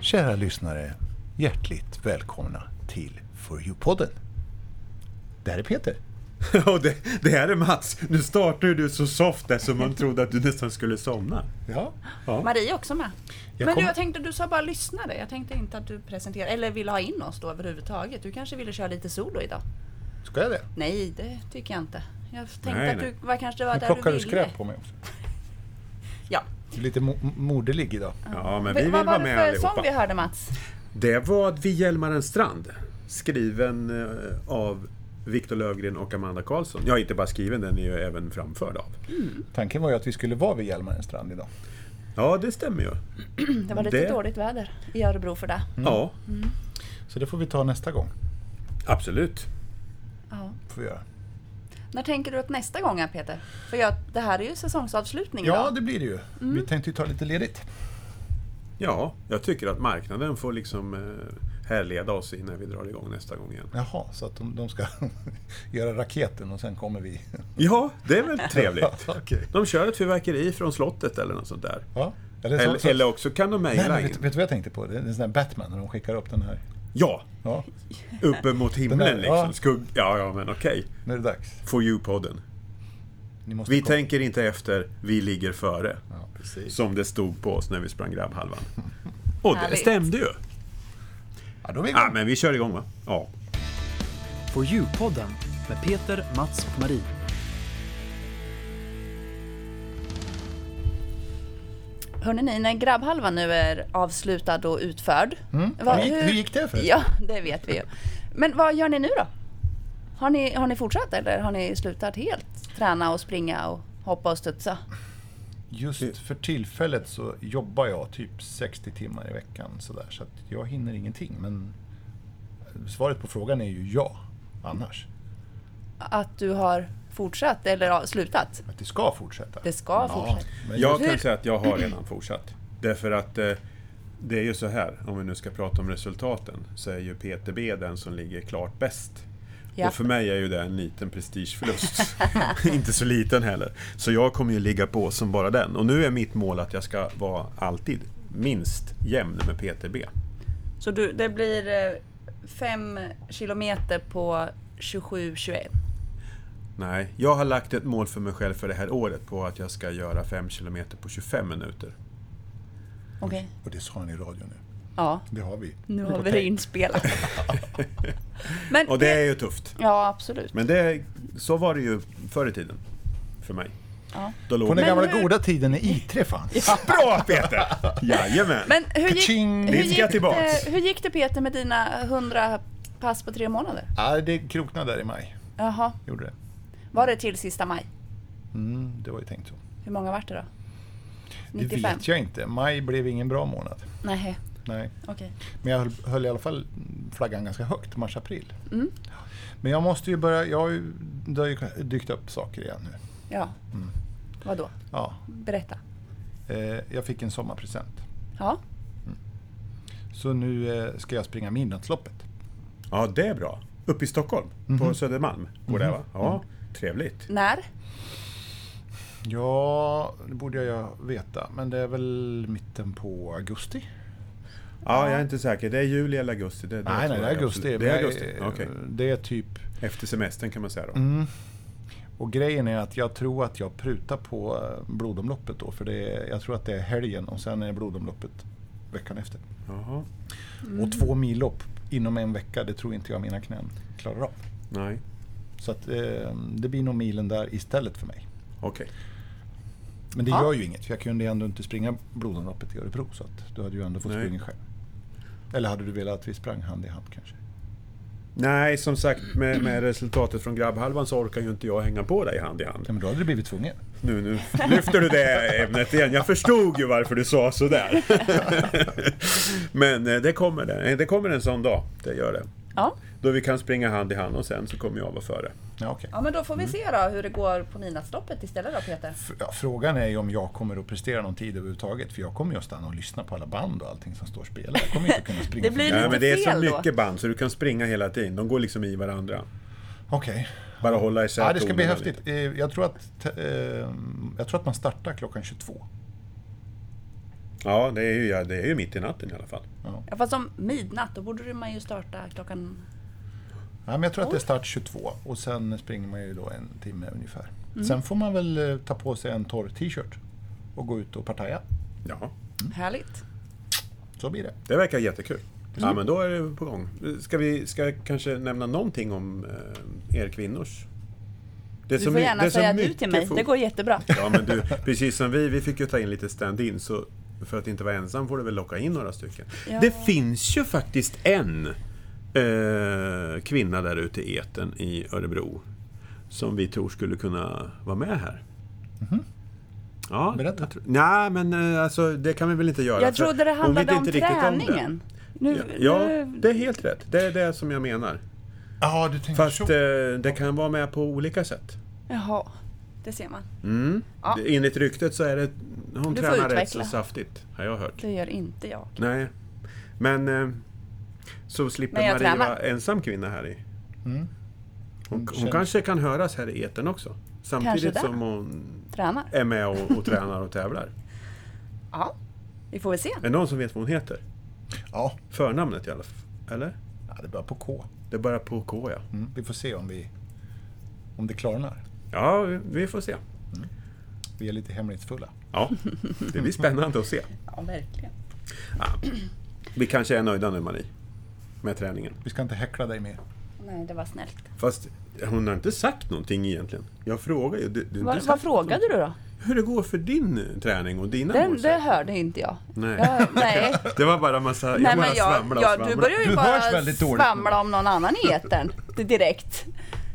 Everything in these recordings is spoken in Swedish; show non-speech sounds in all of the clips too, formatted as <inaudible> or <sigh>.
Kära lyssnare, hjärtligt välkomna till For You-podden. Det här är Peter. <laughs> Och det, det här är Mats. Nu startar ju du så soft där så man trodde att du nästan skulle somna. Ja. Ja. Marie är också med. Jag men kom- du, jag tänkte, du sa bara lyssnare. Jag tänkte inte att du presenterade, eller ville ha in oss då överhuvudtaget. Du kanske ville köra lite solo idag? Ska jag det? Nej, det tycker jag inte. Jag tänkte Nej, att nej. du var, kanske det var Nu där du plockar ville. du skräp på mig också. Ja. Du är lite mo- moderlig idag. ja, men vi vill Vad vara var det med för sång vi allihopa. hörde Mats? Det var Vid Hjälmaren strand. Skriven eh, av Viktor Lövgren och Amanda Karlsson. Ja, inte bara skriven, den är ju även framförd av. Tanken var ju att vi skulle vara vid Hjälmarens strand idag. Ja, det stämmer ju. Mm. Det var lite Det- dåligt väder i Örebro för det. Ja, Så det får vi ta nästa gång. absolut. Ja. Får vi göra. När tänker du att nästa gång är Peter? För jag, det här är ju säsongsavslutning Ja, idag. det blir det ju. Mm. Vi tänkte ju ta lite ledigt. Ja, jag tycker att marknaden får liksom eh, härleda oss innan vi drar igång nästa gång igen. Jaha, så att de, de ska <laughs> göra raketen och sen kommer vi. Ja, det är väl trevligt. <laughs> Okej. De kör ett fyrverkeri från slottet eller något sånt där. Ja. Eller, så, Eller, så, eller också kan de nej, mejla men in. vet, vet du vad jag tänkte på? Det är en sån där Batman när de skickar upp den här. Ja, Ja, uppe mot himlen Den där, liksom. ja. Skugg... Ja, ja, men okej. nu är det dags. For you-podden. Ni måste Vi komma. tänker inte efter, vi ligger före. Ja, precis. Som det stod på oss när vi <laughs> sprang grabbhalvan. Och det Härligt. stämde ju. Ja, då är vi igång. Ja, men vi kör igång va? Ja. For You-podden med Peter, Mats och Marie. Hörrni ni, när grabbhalvan nu är avslutad och utförd. vad- Mm. Hur gick- hur gick det för er? Ja, det vet vi ju. Men vad gör ni nu då? Har ni, har ni fortsatt eller har ni slutat helt träna och springa och hoppa och studsa? Just för tillfället så jobbar jag typ 60 timmar i veckan sådär, så att jag hinner ingenting. Men svaret på frågan är ju ja, annars. Att du har fortsatt eller har slutat? Att det ska fortsätta. Det ska fortsätta. Men Jag jag... kan Hur- säga att jag har redan fortsatt. Därför att eh, det är ju så här, om vi nu ska prata om resultaten, så är ju PTB den som ligger klart bäst. Ja. Och för mig är ju det en <laughs> liten prestigeförlust. <laughs> Inte så liten heller. Så jag kommer ju ligga på som bara den. Och nu är mitt mål att jag ska vara alltid minst jämn med PTB. Så du, det blir 5 kilometer på 27-21? Nej, jag har lagt ett mål för mig själv för det här året på att jag ska göra 5 km på 25 minuter. Okej. Och det sa ni i radio nu. Ja, Det har vi. nu har vi Okej. det <laughs> inspelat. Men Och det är ju tufft. Ja, absolut. Men det, så var det ju förr i tiden. För mig. Ja. Då låg På den Men gamla hur- goda tiden när <laughs> I3 fanns. Bra <laughs> Peter! Jajamän! Men hur gick, Ka-ching! hur, Vi ska gick tillbaks. det, hur gick det Peter med dina 100 pass på tre månader? Ja, det kroknade där i maj. Jaha, Gjorde det. var det till sista maj? Mm, det var ju tänkt så. Hur många vart det då? Det 95? vet jag inte. Maj blev ingen bra månad. Nej, Nej. okej. Men jag höll, höll i alla fall flaggan ganska högt, mars-april. Men jag måste ju börja, jag har ju, det har ju dykt upp saker igen nu. Ja. Mm. Vadå? Ja, Berätta. eh, jag fick en sommarpresent. Ja. Så nu eh, ska jag springa Midnattsloppet. Ja, det är bra. Uppe i Stockholm, Mhm. på Södermalm. Går det va? Ja, trevligt. När? Ja, det borde jag veta, men det är väl mitten på augusti? Ja, jag är inte säker. Det är juli eller augusti. Det, det nej, nej, tror det jag är augusti. absolut. Det är men augusti, jag- okej. Det är typ... Efter semestern kan man säga då. Mm. Och grejen är att jag tror att jag prutar på eh, blodomloppet då, för det är, jag tror att det är helgen och sen är blodomloppet veckan efter. Jaha, Och två millopp inom en vecka, det tror inte jag mina knän klarar av. nej. Så att, eh, det blir nog milen där istället för mig. Okej. Men det Ja. gör ju inget, för jag kunde ju ändå inte springa blodomloppet i Örebro, så att du hade ju ändå fått Nej. springa själv. Eller hade du velat att vi sprang hand i hand kanske? Nej, som sagt, med, med resultatet från grabbhalvan så orkar ju inte jag hänga på dig hand i hand. Ja, men då hade du blivit tvungen. Nu, nu lyfter du det ämnet igen. Jag förstod ju varför du <laughs> sa sådär. Men eh, det kommer, det. Eh, det kommer en sån dag, det gör det. Ja. Då vi kan springa hand i hand och sen så kommer jag vara före. Ja, okej. ja, men då får Mm. vi se då hur det går på midnattsloppet istället då Peter. F- Ja, frågan är ju om jag kommer att prestera någon tid överhuvudtaget, för jag kommer ju att stanna och lyssna på alla band och allting som står och spelar. Jag kommer inte att kunna springa Det blir- förbi. Nej, lite men det är så fel då. mycket band så du kan springa hela tiden. De går liksom i varandra. Okej. Bara hålla isär Ja, det ska bli tonerna häftigt. Eh, ehm, Jag tror, att, te- eh, jag tror att man startar klockan 22. Ja, det är, ju, ja, det är ju mitt i natten i alla fall. Ja. Ja, fast om midnatt, då borde man ju starta klockan... Ja, men jag tror att det är start 22 och sen springer man ju då en timme ungefär. Sen får man väl eh, ta på sig en torr t-shirt och gå ut och partaja. Ja, Härligt. Så blir det. det verkar jättekul. Mm. Ja, men då är det på gång. Ska vi ska jag kanske nämna någonting om eh, er kvinnors? Det är Du får så my- det gärna är så säga du mycket till mig, det fokus- går jättebra. Ja, men du, precis som vi, vi fick ju ta in lite stand-in, så för att inte vara ensam får du väl locka in några stycken. Ja. Det finns ju faktiskt en eh, kvinna där ute i etern i Örebro, som vi tror skulle kunna vara med här. Mhm. Ja, Berätta. jag tror- Nej, men eh, alltså, det kan vi väl inte göra. Jag för trodde det hon vet handlade om inte riktigt det. träningen. Nu, Ja, ja, nu... det är helt rätt. Det är det som jag menar. Ja, du tänker Fast eh, det kan vara med på olika sätt. Jaha, det ser man. Mm. Ja. Enligt ryktet så är det... Hon Du får tränar rätt så utveckla. saftigt, har jag hört. Det gör inte jag. Nej, men eh, så slipper Men jag Maria tränar. vara ensam kvinna här i. Mm. Hon, Hon hon känner- kanske kan höras här i etern också. Samtidigt det. som hon Tränar. är med och, och tränar och tävlar. Är Ja, vi får väl se. det någon som vet vad hon heter? Ja, Förnamnet i alla fall. Eller? ja, det börjar på K. Det börjar på K, ja. Mm. Vi får se om, vi, om det klarnar. Ja, vi- vi får se. Vi är lite hemlighetsfulla. Ja, det blir spännande att se. Ja, verkligen. Vi kanske är nöjda nu, Marie, med träningen. Vi ska inte häckla dig mer. Nej, det var snällt. Fast hon har inte sagt någonting egentligen. Jag frågar ju. Du, du, har Vad, inte vad sagt frågade du då? Hur det går för din eh, träning och dina Den, mål. det hörde inte jag. Nej. Jag, nej. Det var bara massa... Jag Nej, bara men jag, svamlade och jag, svamlade. du börjar ju Du hörs bara väldigt dåligt nu. svamla om någon annan i etern <laughs> det- direkt.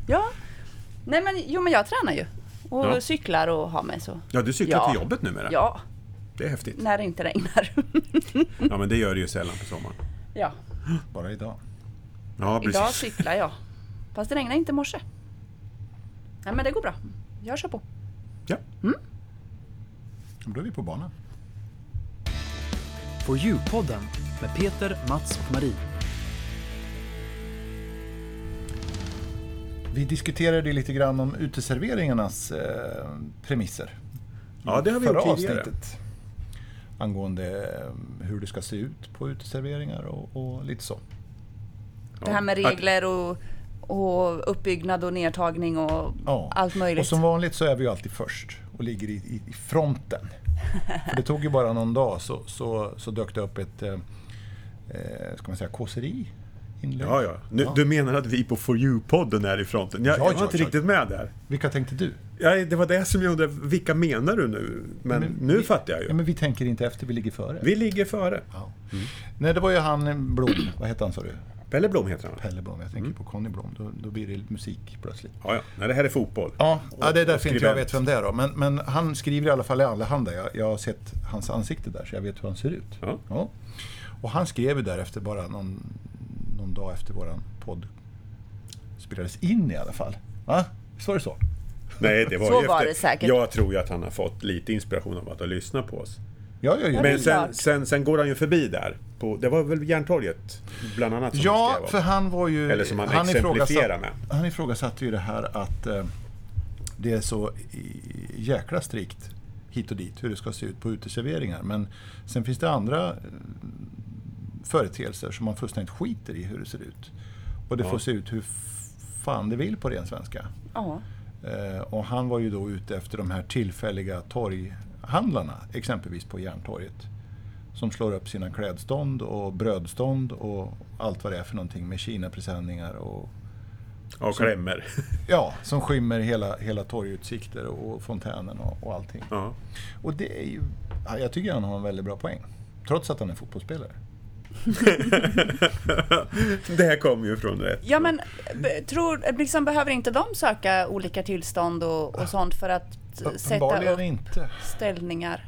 Ja, nej men jo men jag tränar ju och Ja. cyklar och har mig så. Ja, du cyklar Ja. till jobbet numera. Ja, Det är häftigt. när det inte regnar. <laughs> Ja, men det gör det ju sällan på sommaren. ja, Bara idag. Ja, precis. idag cyklar jag. Fast det regnade inte i morse. Nej men det går bra. Jag kör på. Ja. Men Då är vi på banan. På djurpodden med Peter, Mats och Marie. Vi diskuterade ju lite grann om uteserveringarnas eh, premisser. ja, det har vi förra gjort tidigare. avsnittet. Angående eh, hur det ska se ut på uteserveringar och, och lite så. Det här med Ja. regler och, och uppbyggnad och nedtagning och Ja. allt möjligt. Och som vanligt så är vi ju alltid först och ligger i, i, <laughs> i fronten. För det tog ju bara någon dag så, så, så dök det upp ett, eh, eh, ska man säga, kåseri? Inlägg. Ja, ja. Nu, Du menar att vi på For You-podden är i fronten? Jag, Ja, jag ja, var inte ja. riktigt med där. Vilka tänkte du? Ja, det var det som jag undrade, vilka menar du nu? Men, Mm. nu fattar jag ju. Ja, men vi tänker inte efter, vi ligger före. Vi ligger före. Ja. Nej, det var ju han eh, Blom, vad hette han sa du? Pelle Blom heter han. va? Pelle Blom, jag tänker Mm. på Conny Blom. Då, då blir det musik plötsligt. Ja, ja. Nej, det här är fotboll. Ja, ja det är och därför inte jag skribent. vet vem det är då. Men, men han skriver i alla fall i Allehanda. Jag, jag har sett hans ansikte där, så jag vet hur han ser ut. Ja. Och han skrev ju därefter, bara någon, någon dag efter våran podd spelades in i alla fall. Va? Visst var det så? Nej, det var Så ju var efter. det säkert. Jag tror ju att han har fått lite inspiration av att ha lyssnat på oss. Ja, ja, ja. Men är sen, klart. sen, sen går han ju förbi där. På, det var väl Järntorget, bland annat, som han ja skrev om. för han var ju... Eller som han exemplifierar med. Han ifrågasatte ju det här att eh, det är så i- jäkla strikt hit och dit hur det ska se ut på uteserveringar. Men sen finns det andra eh, företeelser som man fullständigt skiter i hur det ser ut. Och det får se ut hur f- fan det vill på ren svenska. Ja. Eh, och han var ju då ute efter de här tillfälliga torghandlarna, exempelvis på Järntorget. Som slår upp sina klädstånd och brödstånd och allt vad det är för någonting med Kinapresenningar och Ja, klämmer. <laughs> ja, som skymmer hela, hela torgutsikter och fontänen och, och allting. Ja. <laughs> Och det är ju, ja, jag tycker han har en väldigt bra poäng. Trots att han är fotbollsspelare. det här kommer ju från rätt. Ja men b- tror, liksom, behöver inte de söka olika tillstånd och, och sånt för att s- sätta upp Uppenbarligen inte. ställningar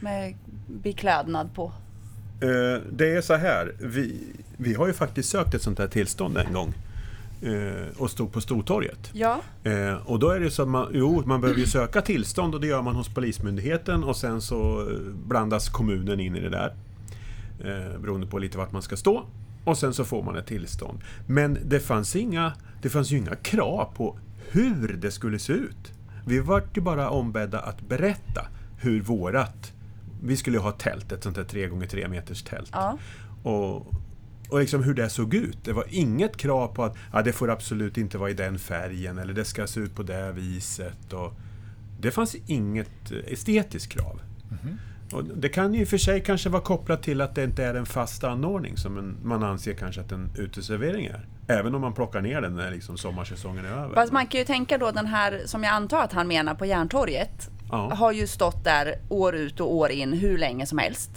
med beklädnad på? Eh, Det är så här, vi, vi har ju faktiskt sökt ett sånt här tillstånd en gång. eh, Och stod på Stortorget. Ja, Eh, och då är det så att man, jo, man behöver ju söka tillstånd och det gör man hos Polismyndigheten och sen så eh, blandas kommunen in i det där. Eh, beroende på lite vart man ska stå. Och sen så får man ett tillstånd. Men det fanns, inga, det fanns ju inga krav på hur det skulle se ut. Vi vart ju bara ombedda att berätta hur vårat Vi skulle ju ha ett tält, ett sånt där 3x3 meters tält. Ja. Och, och liksom hur det såg ut. Det var inget krav på att ja, det får absolut inte vara i den färgen eller det ska se ut på det viset. Och det fanns inget eh, estetiskt krav. Mhm. Och det kan ju i och för sig kanske vara kopplat till att det inte är en fast anordning som en, man anser kanske att en uteservering är. Även om man plockar ner den när liksom sommarsäsongen är över. Fast man kan ju tänka då den här som jag antar att han menar på Järntorget. Ja. Har ju stått där år ut och år in hur länge som helst.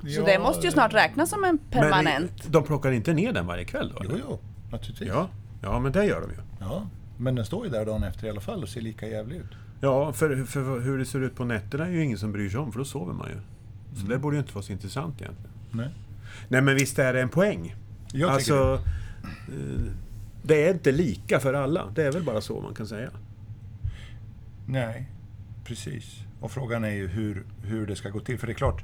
Så Ja, det måste ju snart räknas som en permanent. Men de plockar inte ner den varje kväll då? Jo, eller? jo, naturligtvis. Ja, ja, men det gör de ju. Ja, men den står ju där dagen efter i alla fall och ser lika jävlig ut. Ja, för, för hur det ser ut på nätterna är ju ingen som bryr sig om, för då sover man ju. Så Mm. det borde ju inte vara så intressant egentligen. Nej. Nej, men visst är det en poäng? Jag tycker alltså, eh, det är inte lika för alla. Det är väl bara så man kan säga. Nej, precis. Och frågan är ju hur, hur det ska gå till. För det är klart,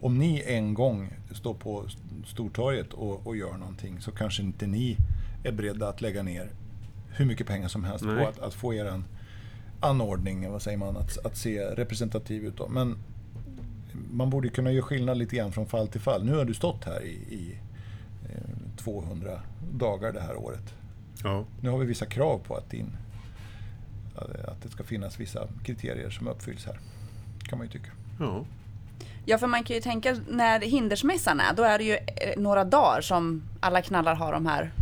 om ni en gång står på Stortorget och, och gör någonting så kanske inte ni är beredda att lägga ner hur mycket pengar som helst Nej. på att, att få er en anordning, vad säger man, att, att se representativ ut. då. Men man borde ju kunna göra skillnad lite grann från fall till fall. Nu har du stått här i, i eh, 200 dagar det här året. Ja. Nu har vi vissa krav på att, din, att det ska finnas vissa kriterier som uppfylls här. Kan man ju tycka. ja. Ja, för man kan ju tänka när hindersmässan är, då är det ju eh, några dagar som alla knallar har de här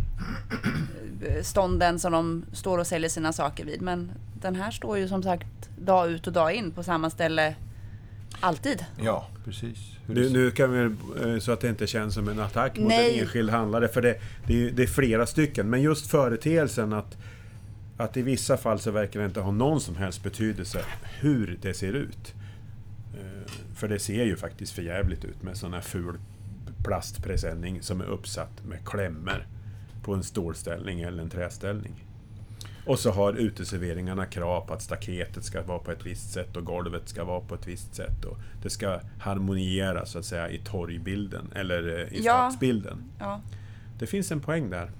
eh, stånden som de står och säljer sina saker vid. Men den här står ju som sagt dag ut och dag in på samma ställe alltid. Ja, precis. Hur Nu, det- nu kan vi, eh, så att det inte känns som en attack mot Nej. en enskild handlare, för det, det, är, ju- det är flera stycken. Men just företeelsen att, att i vissa fall så verkar det inte ha någon som helst betydelse hur det ser ut. Eh, För det ser ju faktiskt för jävligt ut med sån här ful plastpresenning som är uppsatt med klämmer på en stålställning eller en träställning. Och så har uteserveringarna krav på att staketet ska vara på ett visst sätt och golvet ska vara på ett visst sätt. Och det ska harmoniera så att säga i torgbilden eller eh, i Ja. stadsbilden. Ja. Det finns en poäng där.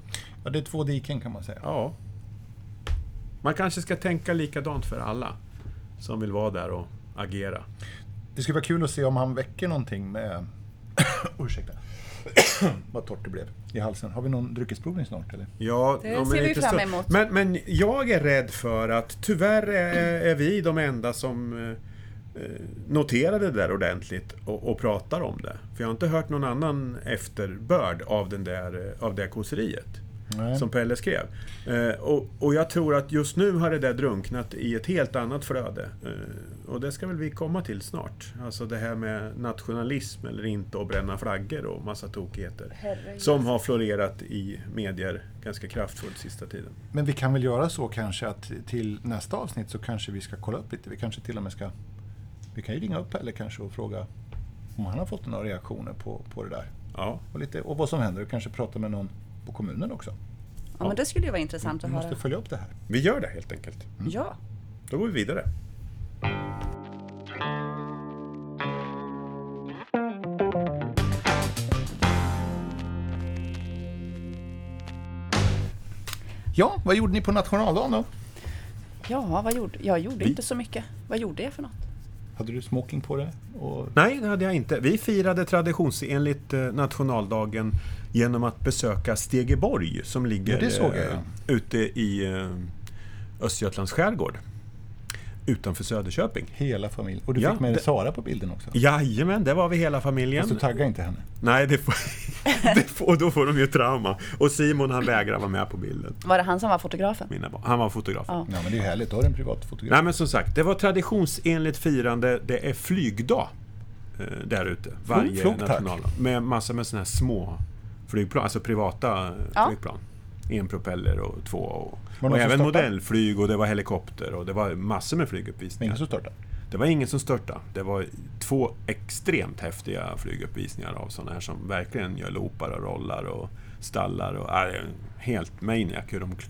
Ja, det är två diken kan man säga. Ja. Man kanske ska tänka likadant för alla som vill vara där och agera. Det skulle vara kul att se om han väcker någonting med... <coughs> Ursäkta. <coughs> Vad torrt det blev i halsen. Har vi någon dryckesprovning snart eller? Ja, Det ja, men ser vi lite fram stund. emot. Men, men jag är rädd för att tyvärr är, är vi de enda som eh, eh, noterar det där ordentligt och, och pratar om det. För jag har inte hört någon annan efterbörd av, den där, eh, av det kåseriet. Nej. Som Pelle skrev. Eh, och, och jag tror att just nu har det där drunknat i ett helt annat flöde. Eh, och det ska väl vi komma till snart. Alltså det här med nationalism eller inte och bränna flaggor och massa tokigheter. Som har florerat i medier ganska kraftfullt sista tiden. Men vi kan väl göra så kanske att till nästa avsnitt så kanske vi ska kolla upp lite. Vi kanske till och med ska... Vi kan ju ringa upp eller kanske och fråga om han har fått några reaktioner på, på det där. Ja, Och, lite, och vad som händer. Och kanske prata med någon på kommunen också. ja, men det skulle ju vara intressant att Vi måste höra. följa upp det här. vi gör det helt enkelt. Ja. Då går vi vidare. Ja, vad gjorde ni på nationaldagen då? Ja, vad gjorde jag? gjorde Vi- inte så mycket. Vad gjorde jag för något? Hade du smoking på dig? Och... Nej, det hade jag inte. Vi firade traditionsenligt eh, nationaldagen genom att besöka Stegeborg som ligger Ja, det såg jag, eh, ja. ute i eh, Östergötlands skärgård. Utanför Söderköping. Hela familjen. Och du Ja, fick med dig det- Sara på bilden också. Jajamän, det var vi hela familjen. Fast du taggade inte henne. Nej, det får, det får, <laughs> då får de ju trauma. Och Simon han vägrar vara med på bilden. Var det han som var fotografen? Mina barn. Han var fotograf. Ja. Ja, men det är ju härligt. Då har du en privat fotograf. Nej men som sagt, det var traditionsenligt firande. Det är flygdag eh, där ute. Varje flock, Oh, tack. nationaldag. Med massor med sådana här små flygplan, alltså privata eh, Ja. flygplan. En propeller och två. Och, någon och som även störtade? modellflyg och det var helikopter och det var massor med Men flyguppvisningar. ingen som störtade. Det var ingen som störtade. Det var två extremt häftiga flyguppvisningar av sådana här som verkligen gör loopar och rollar och stallar. Och, äh, det är helt maniac hur de kl-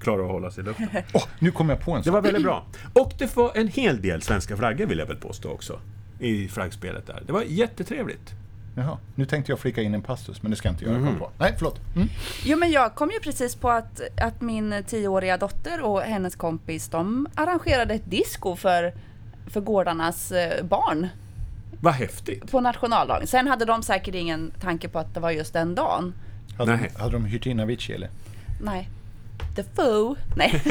klarar att hålla sig i luften. Åh, nu kom jag på en Det sak. var väldigt bra. Och det var en hel del svenska flaggor vill jag väl påstå också. I flaggspelet där. Det var jättetrevligt. Jaha, nu tänkte jag flika in en passus, men det ska jag inte göra. Kom på. Nej, förlåt. Mm. Jo men jag kom ju precis på att, att min tioåriga dotter och hennes kompis de arrangerade ett disco för, för gårdarnas eh, barn Vad häftigt. på nationaldagen. Sen hade de säkert ingen tanke på att det var just den dagen. Hade, Nej. hade de hyrt in Avicii eller? Nej. The Foe. <laughs> Nej.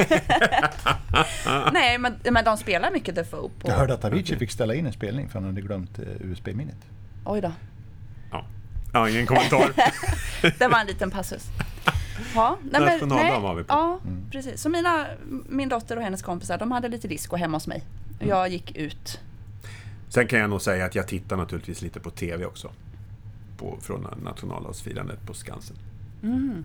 Nej, men, men de spelar mycket The Foe Jag på... hörde att Avicii fick ställa in en spelning för han hade glömt eh, USB-minnet. Oj då. Ja. ja, ingen kommentar. Det var en liten passus. Ja, nej, Nationaldagen var vi på. Mm. Ja, precis. Så mina, min dotter och hennes kompisar, de hade lite disco hemma hos mig. Och Mm. Jag gick ut. Sen kan jag nog säga att jag tittar naturligtvis lite på TV också. På, från nationaldagsfirandet på Skansen.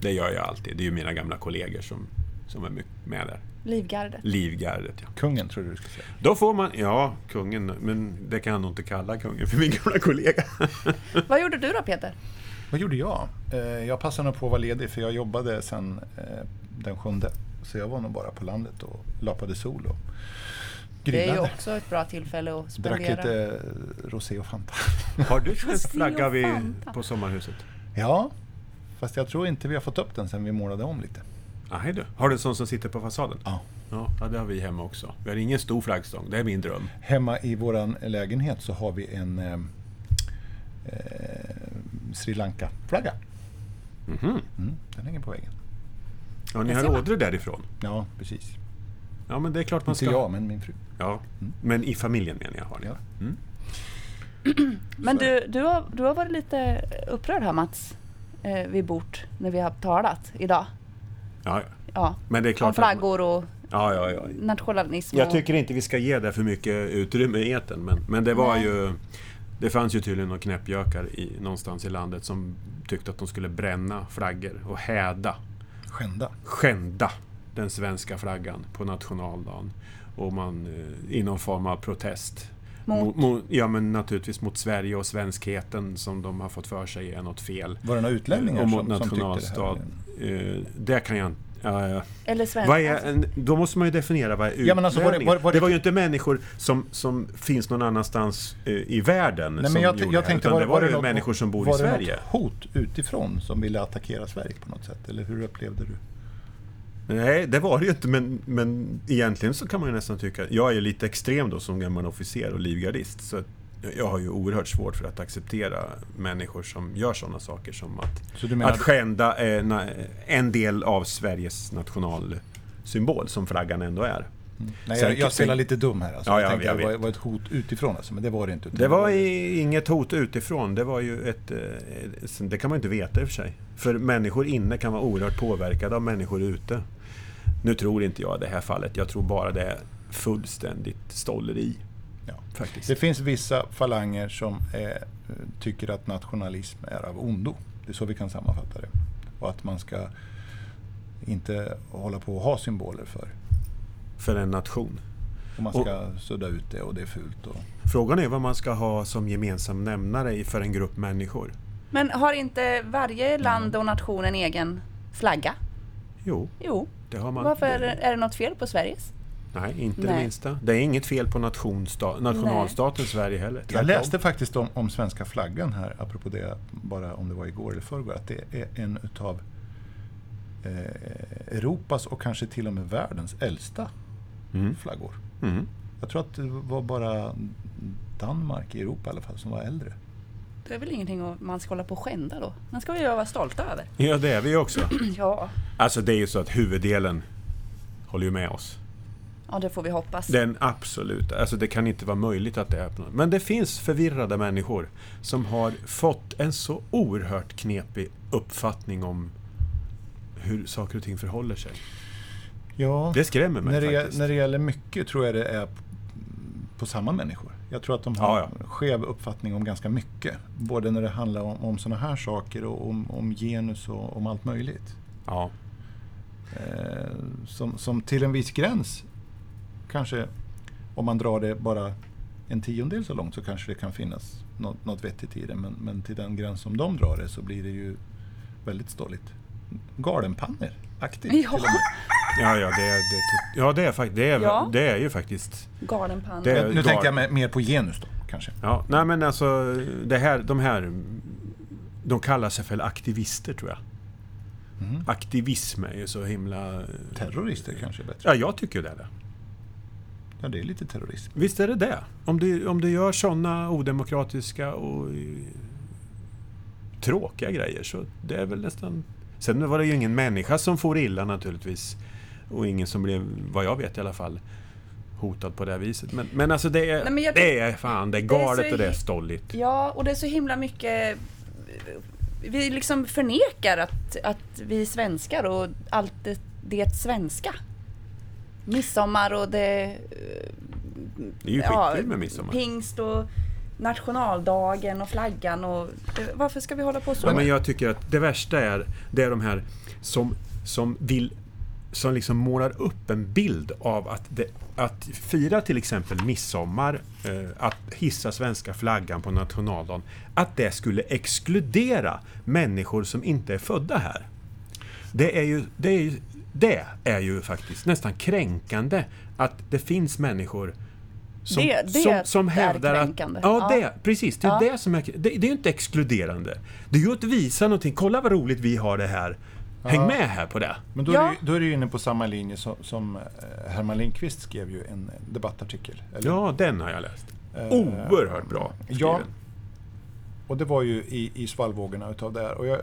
Det gör jag alltid. Det är ju mina gamla kollegor som, som är my- med där. Livgardet. Livgardet, ja. Kungen tror du du skulle säga. Då får man... Ja, kungen. Men det kan jag nog inte kalla kungen för min gamla kollega. Vad gjorde du då Peter? Vad gjorde jag? Eh, Jag passade nog på att vara ledig för jag jobbade sen eh, den sjunde. Så jag var nog bara på landet och lapade sol och Det är ju grillade. också ett bra tillfälle att Drack spendera. lite eh, rosé och Fanta. <laughs> Har <laughs> du svensk Se flagga och vid, Fanta. på sommarhuset? Ja, fast jag tror inte vi har fått upp den sen vi målade om lite. Nej Ah, du. Har du en sån som sitter på fasaden? Ja. Ja, ja, det har vi hemma också. Vi har ingen stor flaggstång. Det är min dröm. Hemma i vår lägenhet så har vi en eh, eh, Sri Lanka-flagga. Mhm. Mm, den hänger på väggen. Ja, ni Jag har ser man. ådror därifrån. Ja, precis. Ja, men det är klart man Inte ska... jag, men min fru. Ja, men i familjen menar jag har det. Ja. Mm. Men Så är du, du, har, du har varit lite upprörd här Mats, eh, vid bord när vi har talat idag. Ja, ja. Ja, Men det är klart om att man- flaggor och Ja, ja, ja. nationalism. Jag och- tycker inte vi ska ge det för mycket utrymme i etern, men, men det var Nej. ju... Det fanns ju tydligen några knäppjökar i, någonstans i landet som tyckte att de skulle bränna flaggor och häda, Skända. skända, den svenska flaggan på nationaldagen. Och man, eh, i någon form av protest. Mot? mot, ja, men naturligtvis mot Sverige och svenskheten som de har fått för sig är något fel. Var det några utlänningar och mot som, som tyckte det nationalstat. här? eh, det kan jag inte... ja, ja. Eller svensk. Vad är, en- då måste man ju definiera vad är utlänning? Ja, men alltså, var det- var- var det, det- var ju inte människor som, som finns någon annanstans eh, i världen Nej, som men jag, gjorde jag det, tänkte, utan var, det var, ju människor som bor i var Sverige. det något hot utifrån som ville attackera Sverige på något sätt? Eller hur upplevde du? Nej, det var det ju inte, men, men egentligen så kan man ju nästan tycka... Jag är lite extrem då som gammal officer och livgardist, så att jag har ju oerhört svårt för att acceptera människor som gör sådana saker som att, Så du menar- att skända en, en del av Sveriges nationalsymbol, som flaggan ändå är. Nej, Sen- jag, jag spelar lite dum här. Alltså. Ja, ja, jag tänkte jag att det var, vet. var ett hot utifrån, alltså, men det var det inte. utan Det var i- inget hot utifrån, det var ju ett... eh, sen- Det kan man ju inte veta i och för sig. För människor inne kan vara oerhört påverkade av människor ute. Nu tror inte jag det här fallet, jag tror bara det är fullständigt stolleri. Ja. Faktiskt. Det finns vissa falanger som är, tycker att nationalism är av ondo. Det är så vi kan sammanfatta det. Och att man ska inte hålla på att ha symboler för. För en nation. Och man Och- ska sudda ut det och det är fult. Och... Frågan är vad man ska ha som gemensam nämnare i- för en grupp människor. Men har inte varje land och nation en egen flagga? Jo, Jo. det har man. Varför är det, det- är det något fel på Sveriges? Nej, inte det Nej. minsta. Det är inget fel på nationsta- nationalstaten Sverige heller. Jag tvärtom. läste faktiskt om, om svenska flaggan här, apropå det, bara om det var igår eller förrgår, att det är en utav eh, Europas och kanske till och med världens äldsta Mm. flaggor. Mm. Jag tror att det var bara Danmark i Europa i alla fall som var äldre. Det är väl ingenting att- man ska hålla på och skända då? Den ska vi ju vara stolta över. Ja, det är vi ju också. <clears throat> Ja. Alltså det är ju så att huvuddelen håller ju med oss. Ja, det får vi hoppas. Den absoluta, alltså det kan inte vara möjligt att det är på något. Men det finns förvirrade människor som har fått en så oerhört knepig uppfattning om hur saker och ting förhåller sig. Ja, Det skrämmer mig när, det, faktiskt. när det gäller mycket tror jag det är p- på samma människor. Jag tror att de har Ja, ja. skev uppfattning om ganska mycket. Både när det handlar om, om sådana här saker och om, om genus och om allt möjligt. Ja. eh, som, som till en viss gräns, kanske om man drar det bara en tiondel så långt så kanske det kan finnas något, något vettigt i det. Men, men till den gräns som de drar det så blir det ju väldigt stolligt. Galenpanner-aktigt. till Ja, och med. Ja, ja, det är, det är, to- ja, det är, fakt- det är, Ja. det är ju faktiskt... galenpannan. Det- Men Nu gal- tänkte jag me- mer på genus då, kanske. Ja, nej men alltså, det här, de här... De kallar sig för aktivister, tror jag. Mhm. Aktivism är ju så himla... Terrorister kanske är bättre. Ja, jag tycker ju det. Är det. Ja, det är lite terrorism. Visst är det det? Om du, om du gör sådana odemokratiska och eh, tråkiga grejer så det är väl nästan... Sen var det ju ingen människa som for illa naturligtvis. Och ingen som blev, vad jag vet i alla fall, hotad på det här viset. Men, men alltså det är, Nej, men jag- det är fan, det är Det är galet så och det är hi- stolligt. Ja, och det är så himla mycket... eh, Vi liksom förnekar att, att vi är svenskar och allt det, det svenska. Midsommar och det... eh, Det är ju ja, skitkul med midsommar. Pingst och nationaldagen och flaggan och... eh, Varför ska vi hålla på så? Ja, men jag tycker att det värsta är, det är de här som, som vill som liksom målar upp en bild av att, det, att fira till exempel midsommar, eh, att hissa svenska flaggan på nationaldagen, att det skulle exkludera människor som inte är födda här. Det är ju, det är ju, det är ju faktiskt nästan kränkande att det finns människor som, Det- det som, som är hävdar att... kränkande. Ja, Ja. det Precis, det är Ja. det som är det, det är ju inte exkluderande. Det är ju att visa någonting. Kolla vad roligt vi har det här. Häng Ja. med här på det. Men då, är Ja. du, då är du inne på samma linje som, som eh, Herman Lindqvist skrev ju en debattartikel. eller- Ja, den har jag läst. Eh, Oerhört bra skriven. Ja, och det var ju i, i svallvågorna utav det här. Och jag,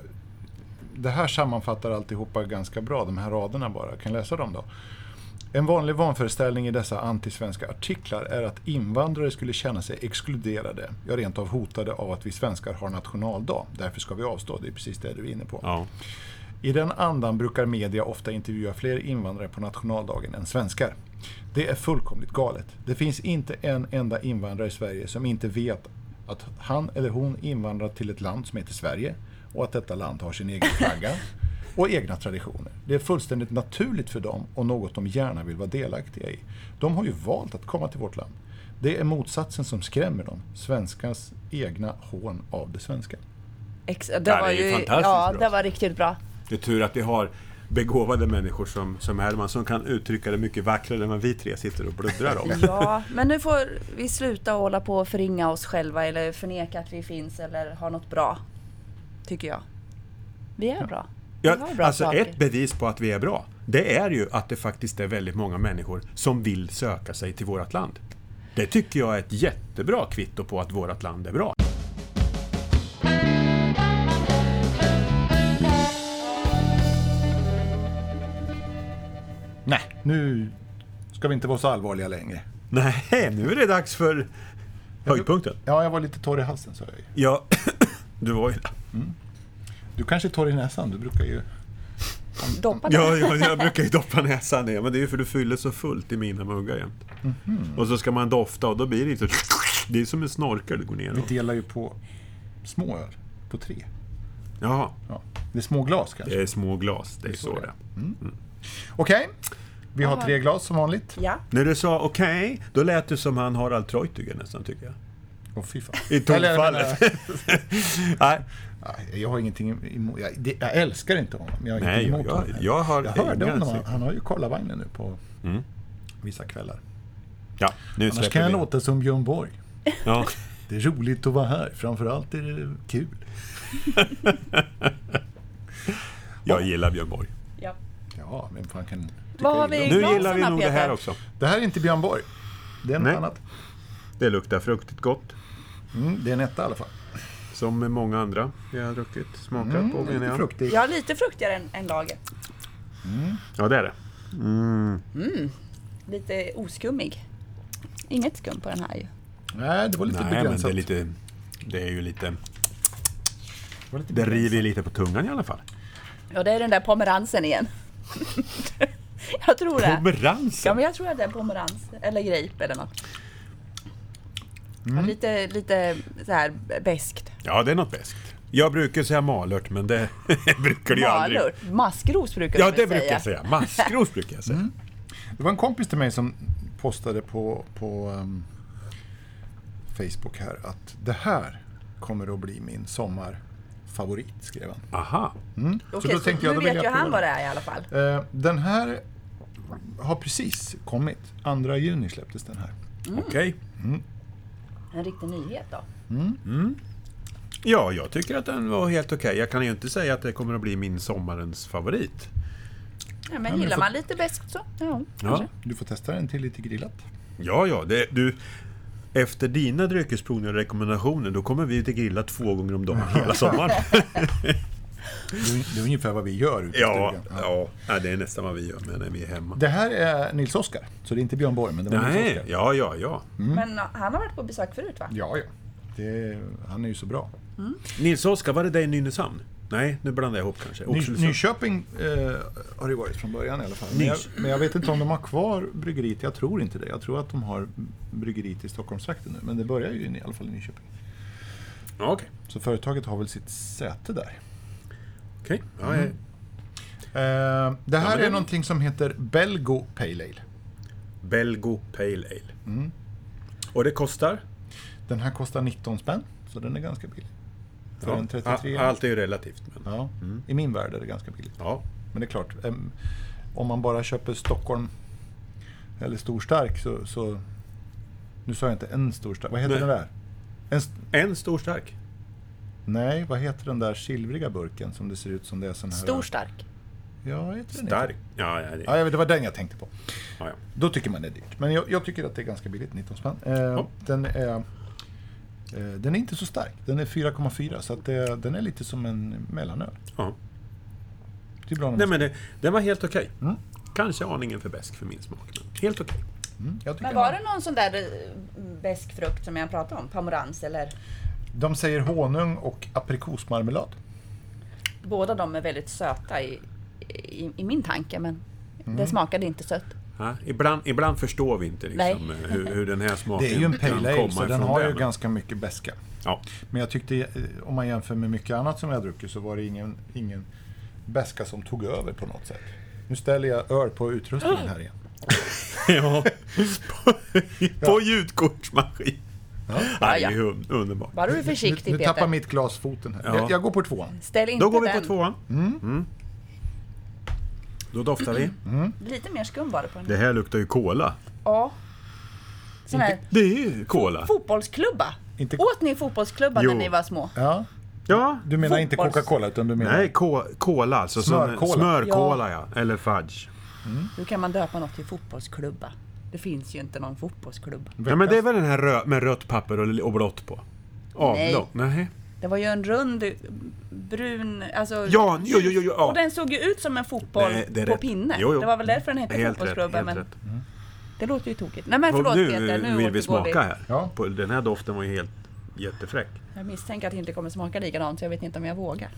det här sammanfattar alltihopa ganska bra, de här raderna bara. Jag kan läsa dem då. En vanlig vanföreställning i dessa antisvenska artiklar är att invandrare skulle känna sig exkluderade, ja rent av hotade av att vi svenskar har nationaldag. Därför ska vi avstå, det är precis det du är inne på. Ja. I den andan brukar media ofta intervjua fler invandrare på nationaldagen än svenskar. Det är fullkomligt galet. Det finns inte en enda invandrare i Sverige som inte vet att han eller hon invandrat till ett land som heter Sverige och att detta land har sin egen flagga och egna traditioner. Det är fullständigt naturligt för dem och något de gärna vill vara delaktiga i. De har ju valt att komma till vårt land. Det är motsatsen som skrämmer dem, svenskans egna hån av det svenska. Ex- det, det var är ju ju... fantastiskt Ja, bra. det var riktigt bra. Det är tur att vi har begåvade människor som, som Herman som kan uttrycka det mycket vackrare än vad vi tre sitter och bluddrar <laughs> om. Ja, men nu får vi sluta hålla på och förringa oss själva eller förneka att vi finns eller har något bra. Tycker jag. Vi är bra. Ja, vi har bra alltså saker. ett bevis på att vi är bra, det är ju att det faktiskt är väldigt många människor som vill söka sig till vårt land. Det tycker jag är ett jättebra kvitto på att vårt land är bra. Nej, nu ska vi inte vara så allvarliga längre. Nej, nu är det dags för höjdpunkten. Ja, jag var lite torr i halsen sa jag ju. Ja, <coughs> du var ju där. Du kanske är torr i näsan, du brukar ju... Doppa det. Ja, ja, jag brukar ju doppa näsan i, men det är ju för du fyller så fullt i mina muggar jämt. Och så ska man dofta och då blir det ju så... Det är som en snorkel du går ner Vi och... delar ju på små öl, på tre. Jaha, Ja. Det är små glas kanske. det är små glas, det är så det är. Okej, vi har Jaha. tre glas som vanligt. Ja. När du sa okej, då lät du som han Harald Treutiger nästan tycker jag. Åh fy fan. I Eller, jag tonfallet. <laughs> Nej, menar, nej, jag har ingenting emot... Jag, det, jag älskar inte honom. men Jag har nej ingenting jag, emot jag, honom. jag har... jag hörde inga honom. Han, åsikter. han har ju kollavagnen nu på Mm. vissa kvällar. Ja, nu Annars släpper kan jag vi. låta som Björn Borg. Ja. Det är roligt att vara här. Framförallt är det kul. Jag gillar Björn Borg. Ja. Ja, vem fan kan tycka Vad har illa vi- om- Nu glasen gillar vi här, nog det här Peter? också. Det här är inte Björn Borg. Det är något Nej. annat. Det luktar fruktigt gott. Mm, det är en etta i alla fall. Som med många andra vi har druckit, smakat på menar Mm, Lite jag. fruktig. Jag är lite fruktigare än, än lager. Ja, det är det. Lite oskummig. Inget skum på den här ju. Nej, det var lite Nej, men det begränsat. är lite... Det är ju lite... var lite Det begränsat. river ju lite på tungan i alla fall. Ja, det är den där pomeransen igen. <laughs> jag tror det. Ja, Pomeransen! men jag tror att det är pomerans eller grape eller något. Ja, lite, lite så här beskt. Ja, Mm. det är något beskt. Jag brukar säga malört, men det <laughs> brukar du ju aldrig. Malört. Maskros brukar Ja, du det väl brukar säga. jag säga. Maskros brukar jag säga. Mm. Det var en kompis till mig som postade på, på ehm, Facebook här att det här kommer att bli min sommarfavorit, skrev han. Aha. Okej, då så tänkte jag, nu då vet vill jag ju han prova vad det. det är i alla fall. Eh, Den här har precis kommit. 2 juni släpptes den här. Mm. Okej. En riktig nyhet då. Ja, jag tycker att den var helt okej. Jag kan ju inte säga att det kommer att bli min sommarens favorit. Ja, men gillar får- man lite beskt så, ja. Ja. Du får testa den till lite grillat. Ja, ja. Det, du, efter dina dryckesprovningar och rekommendationer, då kommer vi ju till grilla två gånger om dagen hela sommaren. Det är, det är ungefär vad vi gör ute i ja, stugan. ja. ja, det är nästan vad vi gör med när vi är hemma. Det här är Nils Oskar, så det är inte Björn Borg, men det var Nils Nej, Oskar. ja, ja, ja. Men han har varit på besök förut va? Ja, ja. Det, han är ju så bra. Nils-Oskar, var det dig i Nynäshamn? Nej, nu blandar jag ihop kanske. Ny, Oxelösund. Nyköping eh, har det varit från början i alla fall. Men jag, Nys- men jag vet inte om de har kvar bryggeriet. Jag tror inte det. Jag tror att de har bryggeriet i Stockholmstrakten nu. Men det börjar ju i alla fall i Nyköping. Ja, Okej. Så företaget har väl sitt säte där. Okej. Ja, jag- Eh, det här men det- är någonting som heter Belgo Pale Ale. Belgo Pale Ale. Och det kostar? Den här kostar 19 spänn, så den är ganska billig. För en 33. a- Allt är ju relativt. Men, Ja, I min värld är det ganska billigt. ja. Men det är klart, em, om man bara köper Stockholm eller stor stark så, så... Nu sa jag inte en stor stark, vad heter Nej. den där? En, st- En stor stark. nej, vad heter den där silvriga burken som det ser ut som det är sån här... Stor stark. Ja, heter den inte? Stark. Ja, ja, det, ja, Ja, jag vet, det var den jag tänkte på. ja. Då tycker man det är dyrt. Men jag, jag tycker att det är ganska billigt, 19 spänn. Eh, den, är, eh, den är inte så stark, den är 4,4 så att det, den är lite som en mellanöl. ja. Det är bra när man Nej, men det, den var helt okej. Mm. Kanske aningen för besk för min smak. Men helt okej. Mm, jag tycker Men den var är- det någon sån där eh, besk frukt som jag pratade om? Pomerans eller? De säger honung och aprikosmarmelad. Båda de är väldigt söta i, i, i min tanke men det smakade inte sött. Ja, ibland, ibland förstår vi inte liksom, eh, hur, hur den här smaken Det är ju en kan pale ale, komma så den ifrån har det, ju men- ganska mycket beska. Ja. <laughs> Men jag tyckte, eh, om man jämför med mycket annat som jag druckit, så var det ingen, ingen beska som tog över på något sätt. Nu ställer jag öl på utrustningen här igen. ja. På, på ljudkortsmaskin. Ja. Ja, det Ja, är ja. ju un- underbart. Var du är Nu, försiktig nu Peter. tappar mitt glas foten här. Ja. Jag, jag går på tvåan. Ställ inte Då går vi på den. tvåan. Mm. Då doftar vi. Mm. Lite mer skum var det på den. Det här luktar ju cola. Ja. Sån här Det är ju cola. fotbollsklubba. Inte- Åt ni fotbollsklubba Jo. när ni var små? Ja, Ja. du menar inte Fotbolls- Coca-Cola, utan du menar... Nej, ko- cola alltså. som- Smörkola. Smörkola, ja. Eller fudge. Hur kan man döpa något till fotbollsklubba? Det finns ju inte någon fotbollsklubba. Ja, men det är väl den här rö- med rött papper och, och blått på? Avlång? <laughs> Nej. Det var ju en rund brun, alltså... Ja, jo, jo, jo, jo, ja. Och den såg ju ut som en fotboll Det- det är på rätt. pinne. Jo, jo. Det var väl därför den hette Helt rätt. fotbollsklubba. Helt men rätt. Det låter ju tokigt. Nej men Och förlåt nu Peter, nu vill återgår vi smaka här. Ja. På, den här doften var ju helt jättefräck. Jag misstänker att det inte kommer smaka likadant så jag vet inte om jag vågar.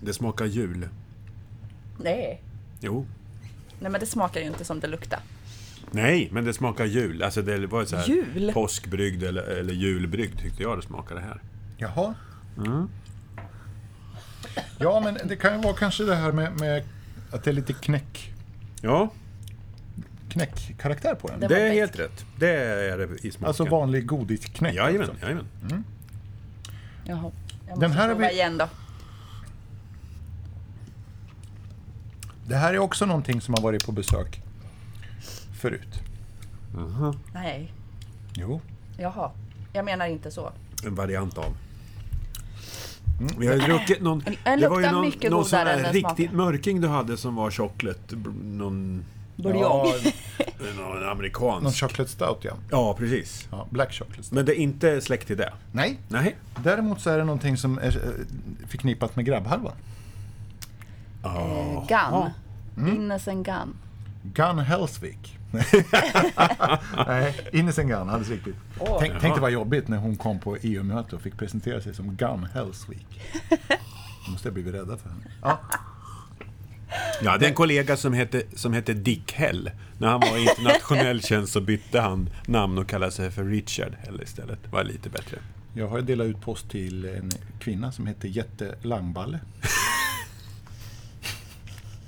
Det smakar jul. Nej. Jo. Nej men det smakar ju inte som det luktar. Nej, men det smakar jul. Alltså det var ju så här Jul? påskbrygd eller, eller julbrygd tyckte jag det smakade här. Jaha. Mm. Ja, men det kan ju vara kanske det här med, med att det är lite knäck, Ja, knäckkaraktär på den. Det- det var är bäst. helt rätt. Det är det i smaken. Alltså vanlig godisknäck. Jajamän, alltså. jajamän. Jaha. Jag måste Den här har prova vi- igen då. Det här är också någonting som har varit på besök förut. Nej. Jo. Jaha. Jag menar inte så. En variant av. Mm, Vi har ju druckit någon... En- en det var Äh, ju luktar någon, mycket någon sån godare än här den riktigt smaken. mörking du hade som var chocolate... br- Någon, Buljong. någon <laughs> någon amerikansk. chocolate stout ja. Ja, precis. ja black chocolate stout. Men det är inte släkt till det. Nej, Nej. däremot så är det någonting som är eh, förknippat med grabbhalvan. Eh, Gun. Mm. Innocent Gun. Gun Hellsvik. Nej, Ines en Gun, alldeles riktigt. Åh. Tänk, tänk det var jobbigt när hon kom på EU-möte och fick presentera sig som Gun Hellsvik. Då måste jag blivit rädda för henne. Ja, Ja, det är en kollega som hette, som hette Dick Hell. När han var <laughs> i internationell tjänst så bytte han namn och kallade sig för Richard Hell istället. Det var lite bättre. jag har ju delat ut post till en kvinna som heter Jette Langballe.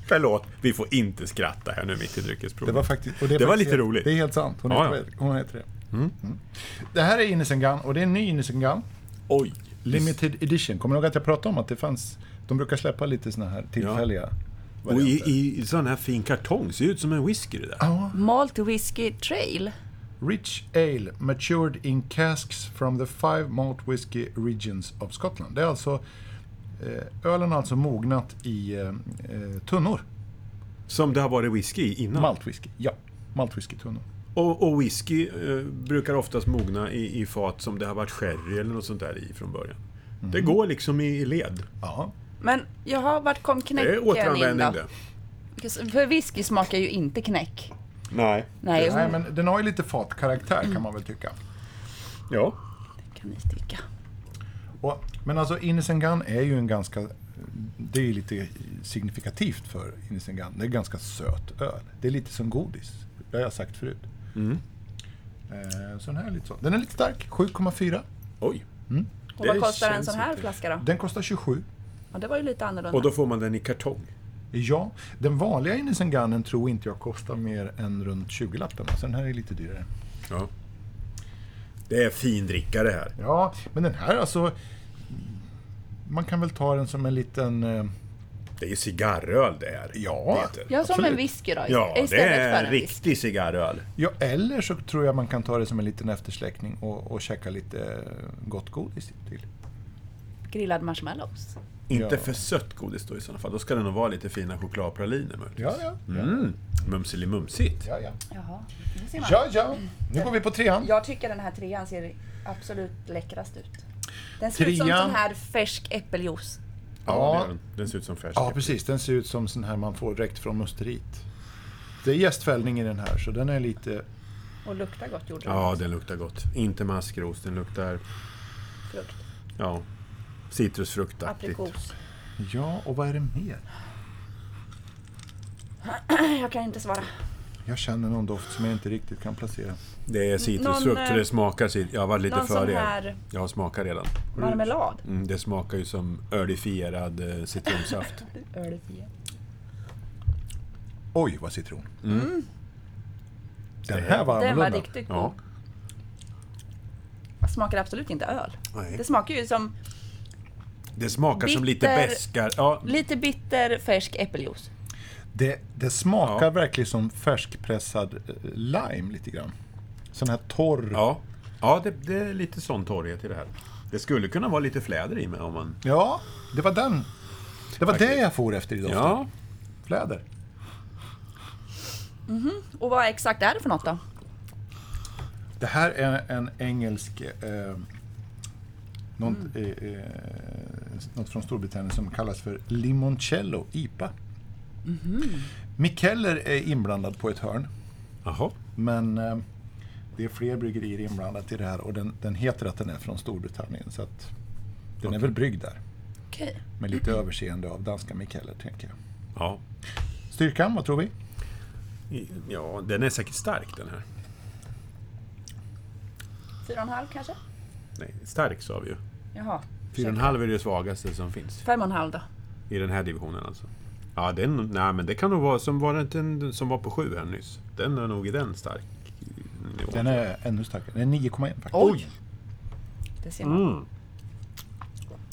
Förlåt, vi får inte skratta här nu mitt i dryckesprovet. Det var, faktiskt, och Det var faktiskt lite helt- roligt. Det är helt sant. Hon, Ja, heter, ja. hon heter det. Mm. Det här är Innocent Gun och det är en ny Innocent Gun. Oj! Limited edition. Kommer du ihåg att jag pratade om att det fanns... De brukar släppa lite såna här tillfälliga Och i, varianter. i, i sån här fin kartong, ser ju ut som en whisky det där. Malt Whiskey Trail. Rich Ale matured in casks from the five malt whiskey regions of Scotland. Det är alltså... Eh, ölen har alltså mognat i eh, eh, tunnor. Som det har varit whisky i innan. Maltwhisky, ja. Maltwhiskytunnor. Och, och whisky eh, brukar oftast mogna i, i fat som det har varit sherry eller något sånt där i från början. Mm. Det går liksom i, i led. Ja. Men jaha, vart kom Det är knäcken in återanvändning då? det. För whisky smakar ju inte knäck. Nej. Nej, Nej, men den har ju lite fatkaraktär kan man väl tycka. Ja. kan ni tycka. Och, men alltså Innocent Gun är ju en ganska... Det är ju lite signifikativt för Innocent Gun. Det är ganska söt öl. Det är lite som godis. Det har jag sagt förut. Eh, Så den här är lite så. Den är lite stark. 7,4. Oj. Och vad Det kostar en känns sån här inte. flaska då? Den kostar 27. Ja, det var ju lite annorlunda. Och då får man den i kartong. Ja, den vanliga Innocent Gunnen tror inte jag kostar mer än runt 20-lappen. Så den här är lite dyrare. Ja. Det är fin dricka det här. Ja, men den här alltså... Man kan väl ta den som en liten... eh, Det är ju cigarröl det här. Ja. Peter. ja, som absolut. en whisky då. Ja, istället det är för en en whisky. riktig cigarröl. Ja, eller så tror jag man kan ta det som en liten eftersläckning och, och käka lite eh, gott godis till. Grillad marshmallows. Inte Ja. för sött godis då i sådana fall. Då ska det nog vara lite fina chokladpraliner möjligtvis. Ja, ja. Mm. Mumselimumsigt. Ja, ja. Jaha, nu ser man. ja, ja. Nu går vi på trean. Jag tycker den här trean ser absolut läckrast ut. Den ser ut som Trean. sån här färsk äppeljuice. Ja, det Ja. är den. den ser ut som färsk. Ja, precis. Den ser ut som sån här man får direkt från musteriet. Det är gästfällning i den här, så den är lite... Och luktar gott gjorde den. Ja, den luktar gott. Inte maskros, den luktar... Frukt. Ja. Citrusfruktaktigt. Aprikos. Ja, och vad är det mer? Jag kan inte svara. Jag känner någon doft som jag inte riktigt kan placera. Det är citrusfrukt, Mm, Någon, eh, så det smakar cit- Jag var lite någon för sån det. här- Jag har smakat redan. Marmelad. Mm, det smakar ju som ölifierad <laughs> eh, citronsaft. Ölfia. Oj, vad citron. Den Mm. här var Den var annorlunda. riktigt Ja. god. Smakar absolut inte öl. Nej. Det smakar ju som Det smakar som lite Bitter- beskar. Ja, lite bitter färsk äppeljuice. Det, det smakar Ja. verkligen som färskpressad eh, lime lite grann. Sån här torr... ja. ja det, det är lite sån torrhet i det här. Det skulle kunna vara lite fläder i med om man... Ja, det var den. Det var det jag for efter idag. Ja, Fläder. Och vad exakt är det för något då? Det här är en engelsk... Eh, något, eh, eh, något från Storbritannien som kallas för limoncello IPA. Mikeller är inblandad på ett hörn. jaha. Men eh, det är fler bryggerier inblandat i det här och den, den heter att den är från Storbritannien. Så att den är väl bryggd där. Okej. Med lite överseende av danska Mikeller, tänker jag. Ja. Styrkan, vad tror vi? ja, den är säkert stark den här. Fyra och en halv kanske? Nej, stark sa vi ju. Jaha. 4,5 är det svagaste som finns Fem och en halv då. i den här divisionen alltså. Ja, den, nej, men det kan nog vara som var, det inte en, som var på 7 här nyss. Den är nog i den stark nivån. Den är ännu starkare. Den är 9,1 faktiskt. Det ser man. Mm.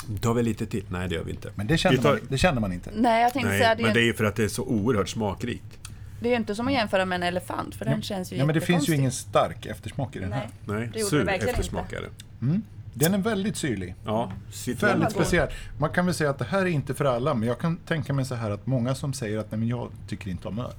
Då tar vi lite till. Nej, det gör vi inte. Men det känner, Vi tar- man, det känner man inte. Nej, jag tänkte säga Nej, det är, men det ju, är ju för att det är så oerhört smakrikt. det är ju inte som att jämföra med en elefant för den känns ju Nej, men det finns ju jättekonstig. ingen stark eftersmak i den här. Nej, Nej, det gjorde det sur verkligen eftersmakare. Den är väldigt syrlig. Ja, citron. Väldigt god. speciell. Man kan väl säga att det här är inte för alla, men jag kan tänka mig så här att många som säger att nej, men jag tycker inte om öl,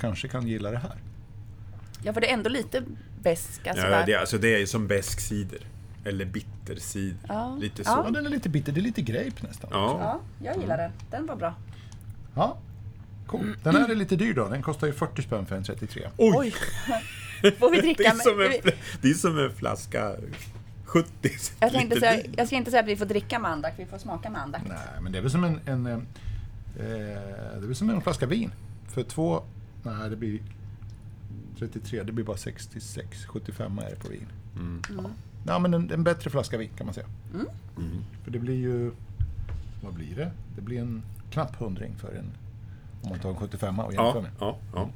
kanske kan gilla det här. inte. Ja, för det är ändå lite beska Ja, sådär. det, är- alltså det är ju som bäsk cider. Eller bittercider. Ja. Lite Ja. Ja, så. den är lite bitter. Det är lite grape nästan. Ja. Ja, jag gillar den. Den var bra. Ja, cool. Den här är lite dyr då. Den kostar ju 40 spänn för en 33. Oj! Oj! Får vi <laughs> Det dricka? är, som en, med- fl- det är som en flaska 70 jag, tänkte liter säga, vin. jag ska inte säga att vi får dricka mandak, vi får smaka mandak. Nej, men det är väl som en, en, eh, eh, det är väl som en flaska vin. För två, nej det blir 33, det blir bara 66, 75 är det på vin. Mm. Ja. ja, men en, en bättre flaska vin kan man säga. Mm. För det blir ju, vad blir det? Det blir en knapp hundring för en, om man tar en 75 och jämför Ja, med. ja, ja.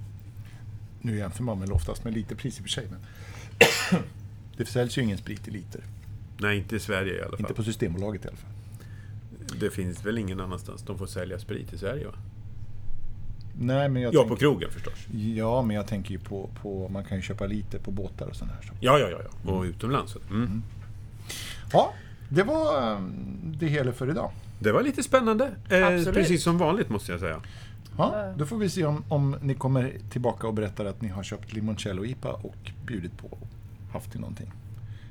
Nu jämför man väl oftast med literpris i och för sig, men <coughs> det säljs ju ingen sprit i liter. Nej, inte i Sverige i alla fall. Inte på Systembolaget i alla fall. Det finns väl ingen annanstans de får sälja sprit i Sverige? Va? Nej, men jag Ja, tänker- på krogen förstås. Ja, men jag tänker ju på, på man kan ju köpa lite på båtar och sådana här saker. Ja, ja, ja. ja. Och utomlands. Mm. Ja, det var eh, det hela för idag. Det var lite spännande. Eh, Absolut. precis som vanligt måste jag säga. Ja, då får vi se om, om ni kommer tillbaka och berättar att ni har köpt limoncello IPA och bjudit på och haft i någonting.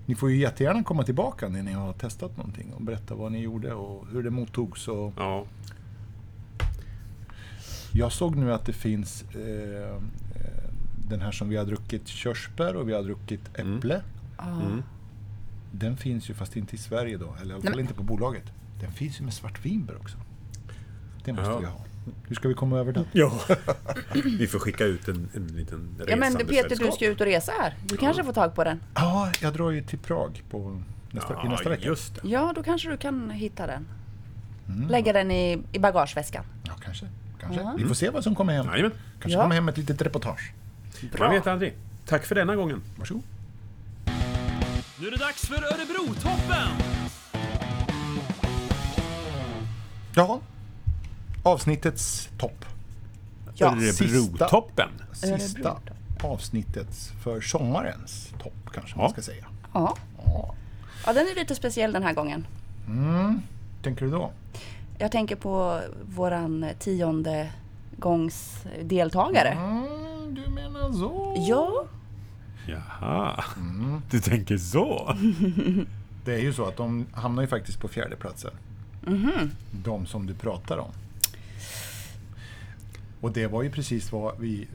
Ni får ju jättegärna komma tillbaka när ni har testat någonting och berätta vad ni gjorde och hur det mottogs. Och Ja. jag såg nu att det finns eh, eh, den här som vi har druckit körsbär och vi har druckit äpple. Ah. Mm. Den finns ju, fast inte i Sverige då, eller i alla Nej, fall men- inte på bolaget. Den finns ju med svartvinbär också. Det måste Ja. vi Mm. ha. Hur ska vi komma över den? ja. <laughs> Vi får skicka ut en, en liten resande Ja men Peter, du sällskap. ska ut och resa här. Du kanske får tag på den. Ja, jag drar ju till Prag på nästa, i nästa Ja, vecka. just det. Ja, då kanske du kan hitta den. Mm. Lägga den i, i bagageväskan. Ja, kanske. kanske. Vi får se vad som kommer hem. Jajamän. Kanske Ja. kommer hem ett litet reportage. Man vet aldrig. Tack för denna gången. Varsågod. Nu är det dags för Örebro-toppen! Ja. Avsnittets topp. Ja. sista. Örebro-toppen. Sista Örebro avsnittets för sommarens topp kanske Ja. man ska säga. Ja. ja, den är lite speciell den här gången. Tänker du då? Jag tänker på våran tionde gångs deltagare. Mm, du menar så? Ja, Jaha. Mm. Du tänker så? Det är ju så att de hamnar ju faktiskt på fjärdeplatsen. De som du pratar om. Och det var ju precis vad vi eh,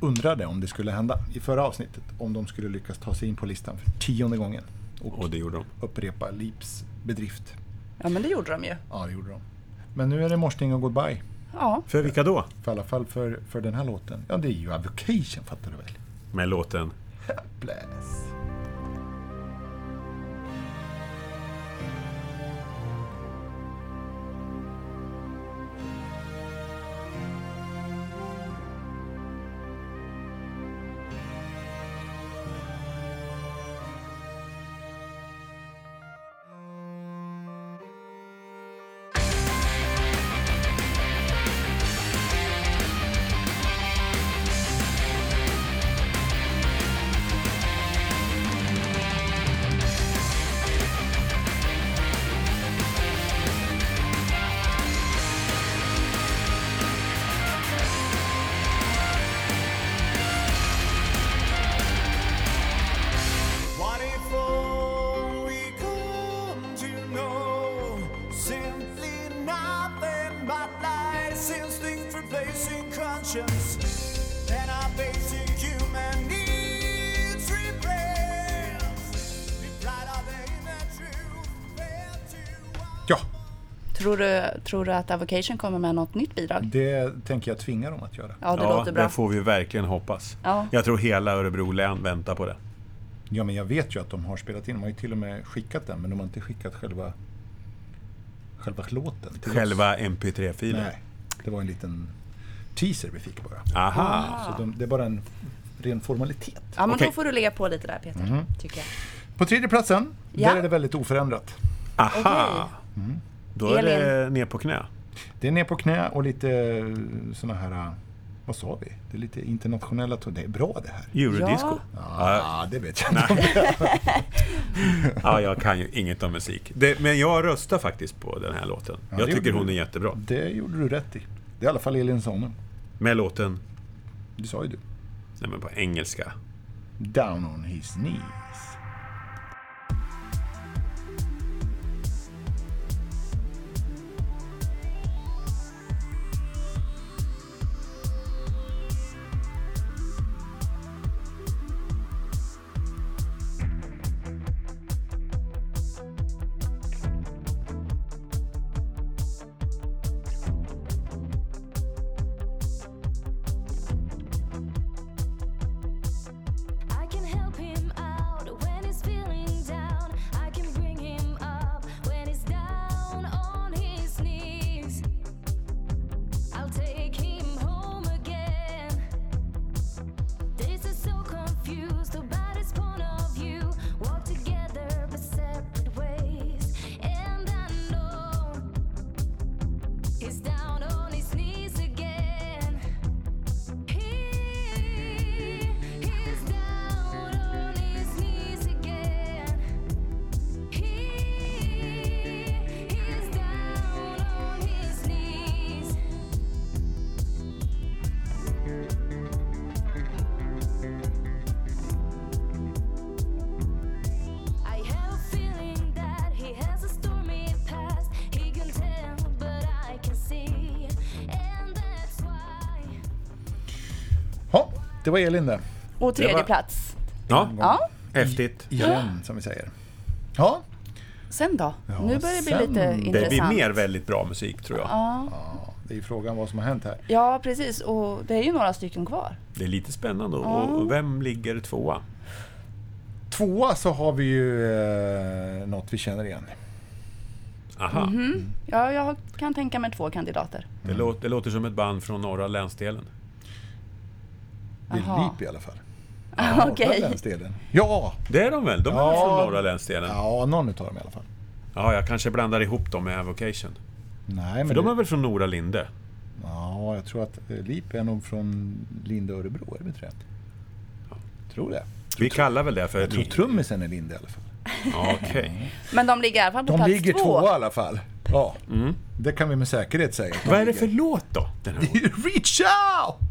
undrade om det skulle hända i förra avsnittet. Om de skulle lyckas ta sig in på listan för tionde gången. Och, Och det gjorde de. upprepa Lips bedrift. ja men det gjorde de ju. Ja, det gjorde de. Men nu är det morsning och goodbye. Ja, För vilka då? För i alla fall för, för den här låten. Ja, det är ju Avocation fattar du väl? Med låten Bless. What if all we come to know simply nothing but lies, instinct replacing conscience, and our basic human needs replaced? Be brighter than the truth, fair to one. Ja, tror du, tror du att Avocation kommer med något nytt bidrag? det tänker jag tvinga dem att göra. Ja, det låter bra. det får vi verkligen hoppas. Ja. Jag tror hela Örebro län väntar på det. Ja, men jag vet ju att de har spelat in. De har ju till och med skickat den, men de har inte skickat själva, själva låten till oss. Själva MP3-filen. Nej, det var en liten teaser vi fick bara. Aha. Så de, det är bara en ren formalitet. Ja men Okej. då får du le på lite där Peter, tycker jag. På tredje platsen, Ja. där är det väldigt oförändrat. Aha. Då är det Elin. ner på knä. Det är ner på knä och lite eh, såna här, eh, vad sa vi? Det är lite internationella ton. Det är bra det här. Eurodisco. Ja. ah, det vet jag inte. Ja, jag kan ju inget om musik. Det, men jag röstar faktiskt på den här låten. det jag tycker gjorde hon du. är jättebra. Det gjorde du rätt i. Det är i alla fall Elin Sonnen. Med låten, Det sa ju du. nej men på engelska. Down on his knees. I can help him out when Det var Elin det. Och tredje Det var- plats. Ja, Ja, häftigt. Igen, som vi säger. Ja, sen då? nu börjar det bli sen- lite Det intressant. Det blir mer väldigt bra musik tror jag. Ja, det är ju frågan vad som har hänt här. ja, precis. Och det är ju några stycken kvar. Det är lite spännande. Och och vem ligger tvåa? Tvåa så har vi ju eh, något vi känner igen. Aha, Mhm. Ja, jag kan tänka mig två kandidater. det, låter, det låter som ett band från norra länsdelen. Det är Jaha. Leap i alla fall. Ja, <laughs> Okej. Den delen. Ja! Det är de väl? De är Ja. väl från norra länsdelen? Ja. Ja, någon utav dem i alla fall. jag kanske blandar ihop dem med Avocation. Nej, men För de det- är väl från Nora Linde? Ja, jag tror att eh, Leap är nog från Linde Örebro, är det inte det? Tror det. Vi kallar väl det för... Jag tror trummisen är Linde i alla fall. Ja, Mm. Okej. Men de ligger i alla fall på De plats ligger två. tvåa i alla fall. Ja, det kan vi med säkerhet säga. att de Mm. Vad är det ligger. för låt då? Den här gången? <laughs> Reach out!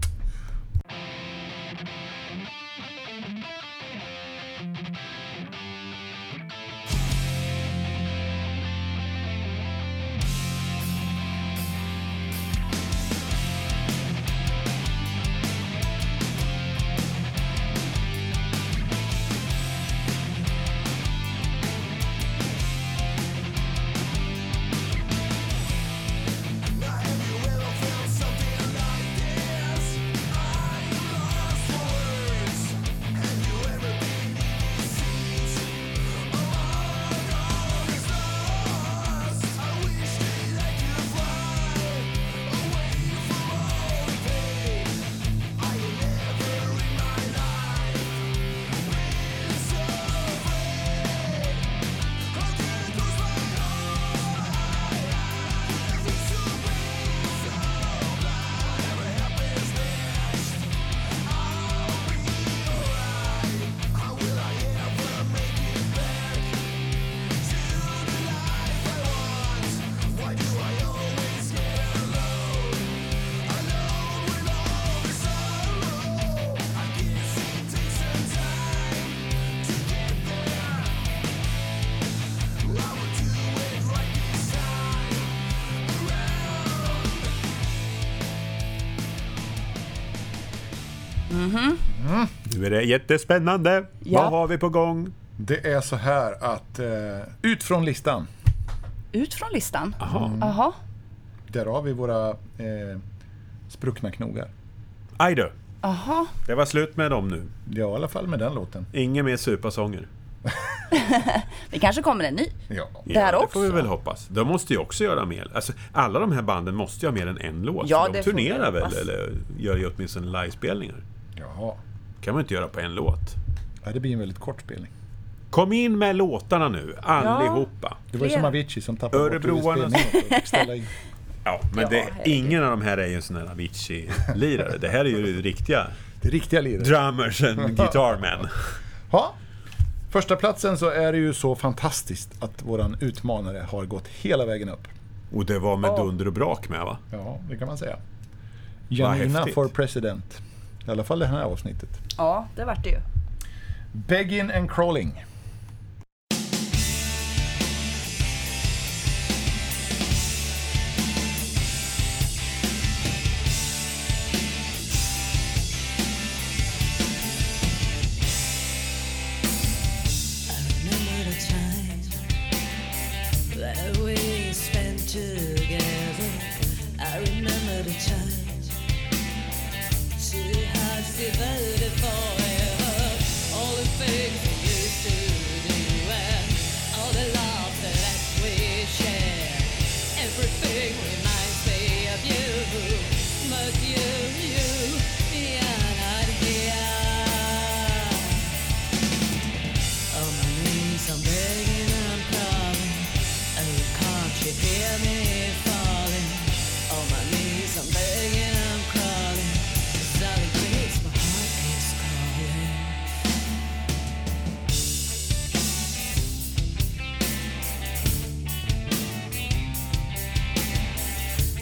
Nu är det jättespännande. Ja. Vad har vi på gång? Det är så här att eh, ut från listan, Ut från listan. Jaha. Jaha. där har vi våra eh, spruckna knogar. Aj då. Jaha. Det var slut med dem nu. Ja, i alla fall med den låten. Inga mer supasånger. Det kanske kommer en ny. Ja. Där det också. får vi väl hoppas. De måste ju också göra mer. Alltså, alla de här banden måste ju ha mer än en låt. Ja, för de det får vi turnerar väl, hoppas. eller gör ju åtminstone livespelningar. Jaha. kan man ju inte göra på en låt. Ja, det blir en väldigt kort spelning. Kom in med låtarna nu, allihopa. Det var ju Flera. som Avicii som tappade bort hur vi Örebroarna- spelade och ställa in. Ja, men Ja, det, herregud. ingen av de här är ju en sån här Avicii-lirare. Det här är ju <laughs> riktiga Det riktiga livet. <laughs> drummers and guitarmen. Ja. Första platsen så är det ju så fantastiskt att våran utmanare har gått hela vägen upp. Och det var med dunder och brak med va? Ja, det kan man säga. Janina häftigt. for president. I alla fall det här avsnittet. Ja, det vart det ju. Begging and crawling. Remember the times that we spent together. I remember the times two hearts divided forever. All the things we used to do and all the love that we shared. Everything reminds me of you, but you, you, you're not here. On Oh, my knees, I'm begging and crying. Oh, can't you hear me falling? On my knees, I'm begging and crawling. Sally Grace, my heart is calling.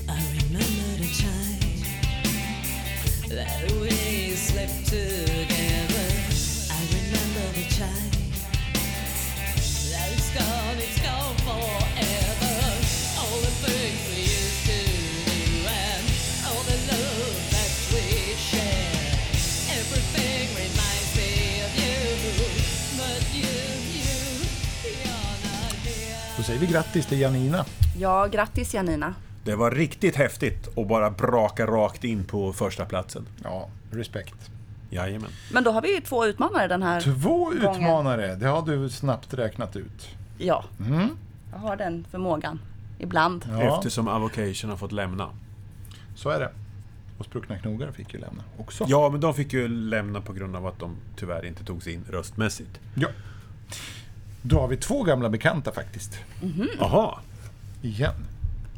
I remember the time that we slept together. I remember the time that it's gone, it's gone forever. All the things we used to do and all the love that we shared. Everything grattis till Janina. Ja, grattis Janina. Det var riktigt häftigt att bara braka rakt in på första platsen. Ja, respekt. Jajamän. Men då har vi ju två utmanare den här. Två Gången. utmanare, det har du snabbt räknat ut. Ja. Mm. Jag har den förmågan. Ibland. Ja, Eftersom Avocation har fått lämna. så är det. Och spruckna knogar fick ju lämna också. Ja, men de fick ju lämna på grund av att de tyvärr inte togs in röstmässigt. Ja. Då har vi två gamla bekanta faktiskt. Jaha. Igen.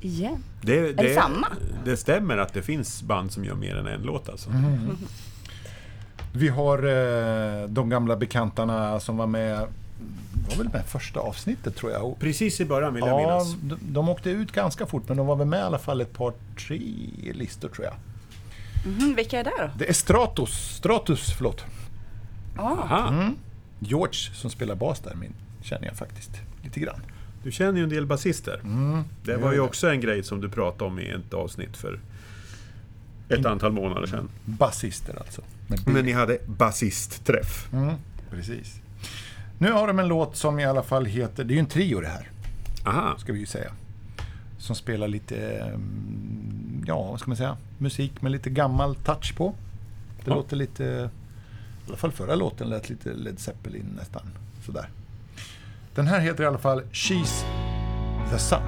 Igen. Det, det, det samma? det stämmer att det finns band som gör mer än en låt alltså. Vi har eh, de gamla bekantarna som var med, var väl med första avsnittet tror jag. Och- Precis i början vill jag Ja, minnas. de, de åkte ut ganska fort men de var väl med i alla fall ett par, tre listor tror jag. Mhm, vilka är det då? Det är Stratos, Stratus, förlåt. Ah, Aha, George som spelar bas där min, känner jag faktiskt lite grann. du känner ju en del basister. det var gör ju jag. också en grej som du pratade om i ett avsnitt för ett antal månader sedan. Basister alltså. med B. Men ni hade basistträff. Precis. Nu har de en låt som i alla fall heter, det är ju en trio det här, Aha. ska vi ju säga. Som spelar lite, mm, ja vad ska man säga, musik med lite gammal touch på. Det Ja. låter lite, i alla fall förra låten lät lite Led Zeppelin nästan. Sådär. Den här heter i alla fall She's the Sun.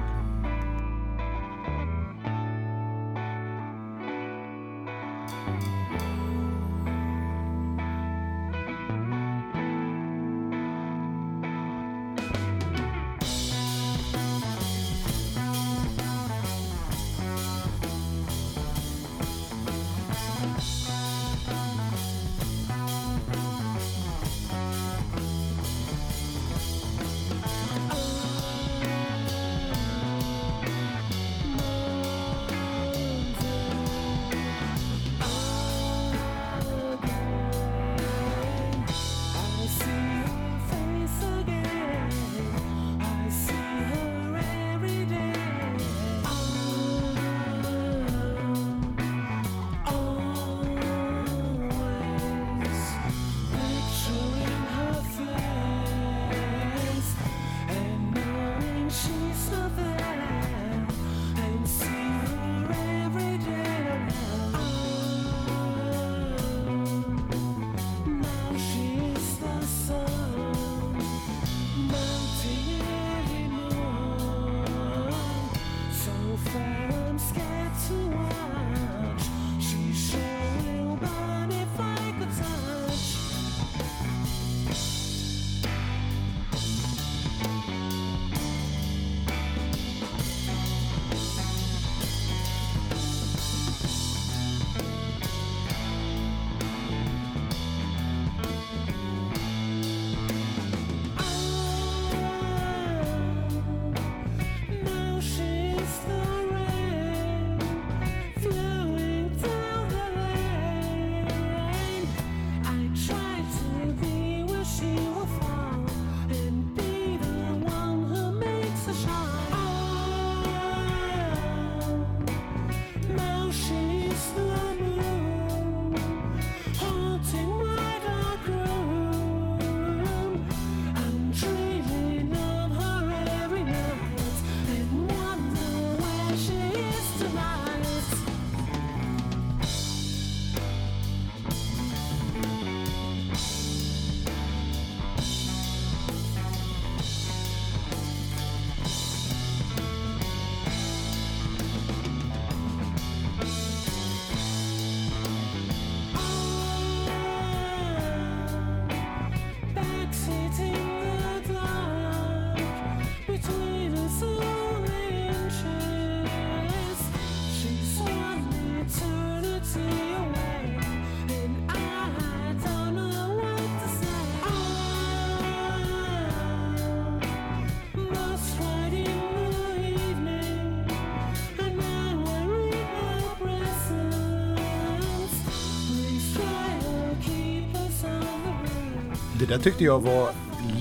Det där tyckte jag var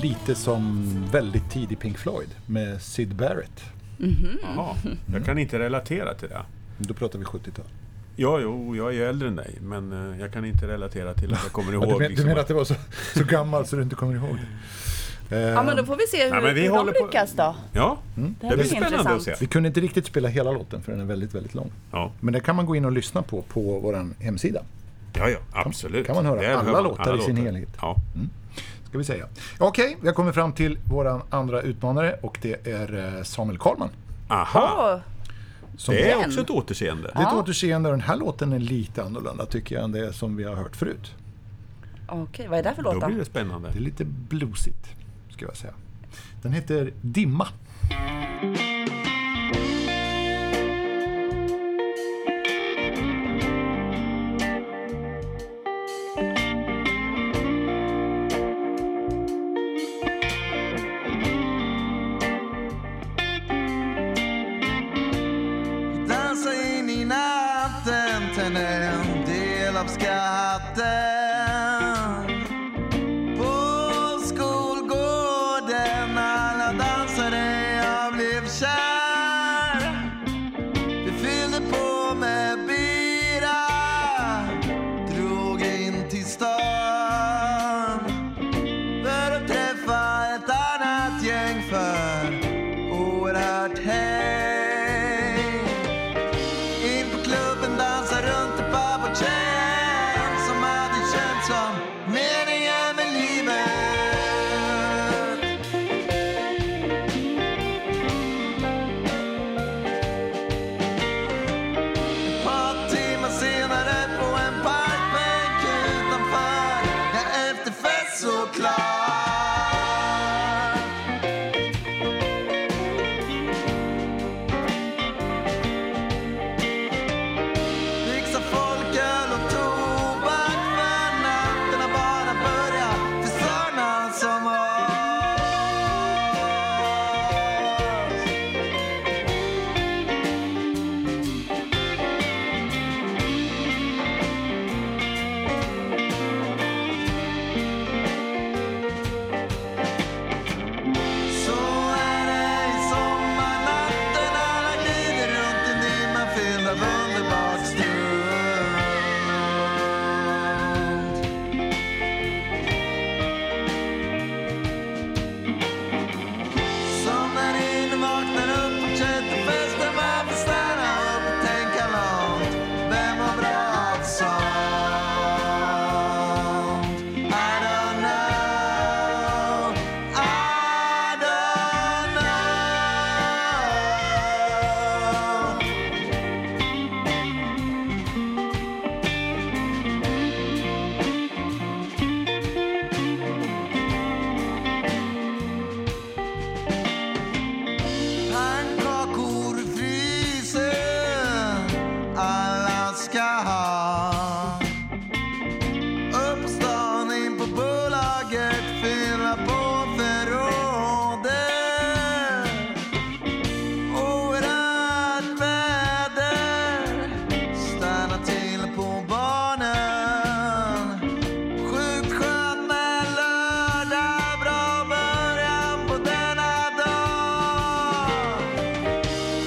lite som väldigt tidig Pink Floyd med Syd Barrett. Jaha. Jag kan inte relatera till det. Då pratar vi 70-tal. Ja, jo, jag är ju äldre än dig, men eh, jag kan inte relatera till att jag kommer Ja, ihåg. du, men, du liksom menar att- att det var så, så gammalt så du inte kommer ihåg det? Ja, men då får vi se hur, Ehm. Nej, men vi hur de håller på- lyckas då. Ja, Det det här blir blir spännande att intressant. se. Eh, Vi kunde inte riktigt spela hela låten för den är väldigt, väldigt lång. Ja, Men det kan man gå in och lyssna på på vår hemsida. ja, ja absolut. Kan man höra Där alla hör man låtar i sin helhet? Ja. Ska vi säga. Okej, vi har kommit fram till vår andra utmanare och det är eh, Samuel Karlman. Aha, Åh, Som det är den. också ett återseende. Det är ett återseende och den här låten är lite annorlunda tycker jag än det som vi har hört förut. Okej, vad är det för låt Då då? blir det spännande. Det är lite bluesigt, ska jag säga. Den heter Dimma. Dansa in i natten, tänd en del av skatten. På skolgården alla dansare jag blev kär. Vi fyllde på med bira, drog in till stan för att träffa ett annat gäng för oerhört häng. In på klubben dansar runt ett par på tjejen som hade känt som meningen med livet. par timmar senare på en parkbänk utanför är efterfest såklart. Dricksa folköl och tobak för natten har bara börjat för såna som oss. Så är det i sommarnatten Alla glider runt i dimma fylld av underbart strunt Somnar in, vaknar upp, fortsätter festen Varför stanna upp och tänka långt? Vem mår bra av sånt? I don't know I don't know Pannkakor i frysen alla ska ha. Upp på stan, in på bolaget, fylla på förrådet. Oerhört väder, stanna till på barnen. Sjukt skönt med lördag, bra början på denna dag.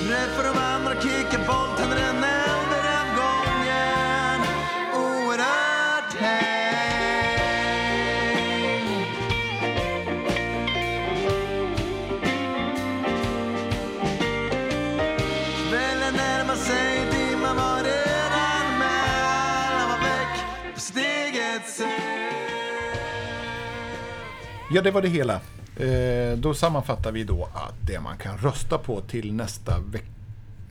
Träffar de andra, kickar boll, tänder en eld i rundgången. Oerhört häng. Kvällen närmar sig, dimman var redan med. Alla var väck på steget sätt. Ja, det var det hela. Eh, då sammanfattar vi då att det man kan rösta på till nästa veck-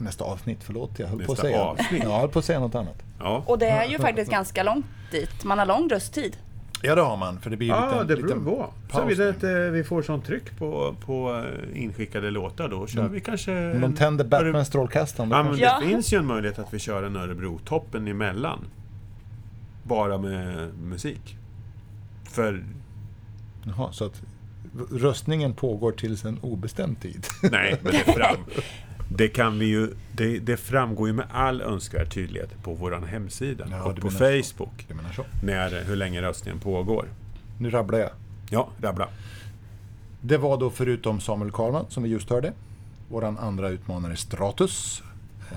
Nästa avsnitt, förlåt. Jag höll på att Nästa säga. avsnitt. Ja, Jag höll på att säga något annat. Ja. Och det är ju faktiskt ganska långt dit. Man har lång rösttid. Ja, det har man. För det blir ju Ja, liten, Ah, det beror liten på. paus Såvida nu. inte eh, vi får sånt tryck på, på eh, inskickade låtar då kör vi kanske... Om de tänder Öre- Batmans strålkastaren. då Ja, men kanske- det Ja. finns ju en möjlighet att vi kör en Örebro-toppen emellan. Bara med musik. För... Jaha, så att röstningen pågår tills en obestämd tid. Nej, men det fram... Det, kan vi ju, det, det framgår ju med all önskvärd tydlighet på vår hemsida Ja, och du på menar så. Facebook. Jag menar så. När, hur länge röstningen pågår. Nu rabblar jag. Ja, rabbla. Det var då förutom Samuel Karlman som vi just hörde. Våran andra utmanare Stratus. Eh,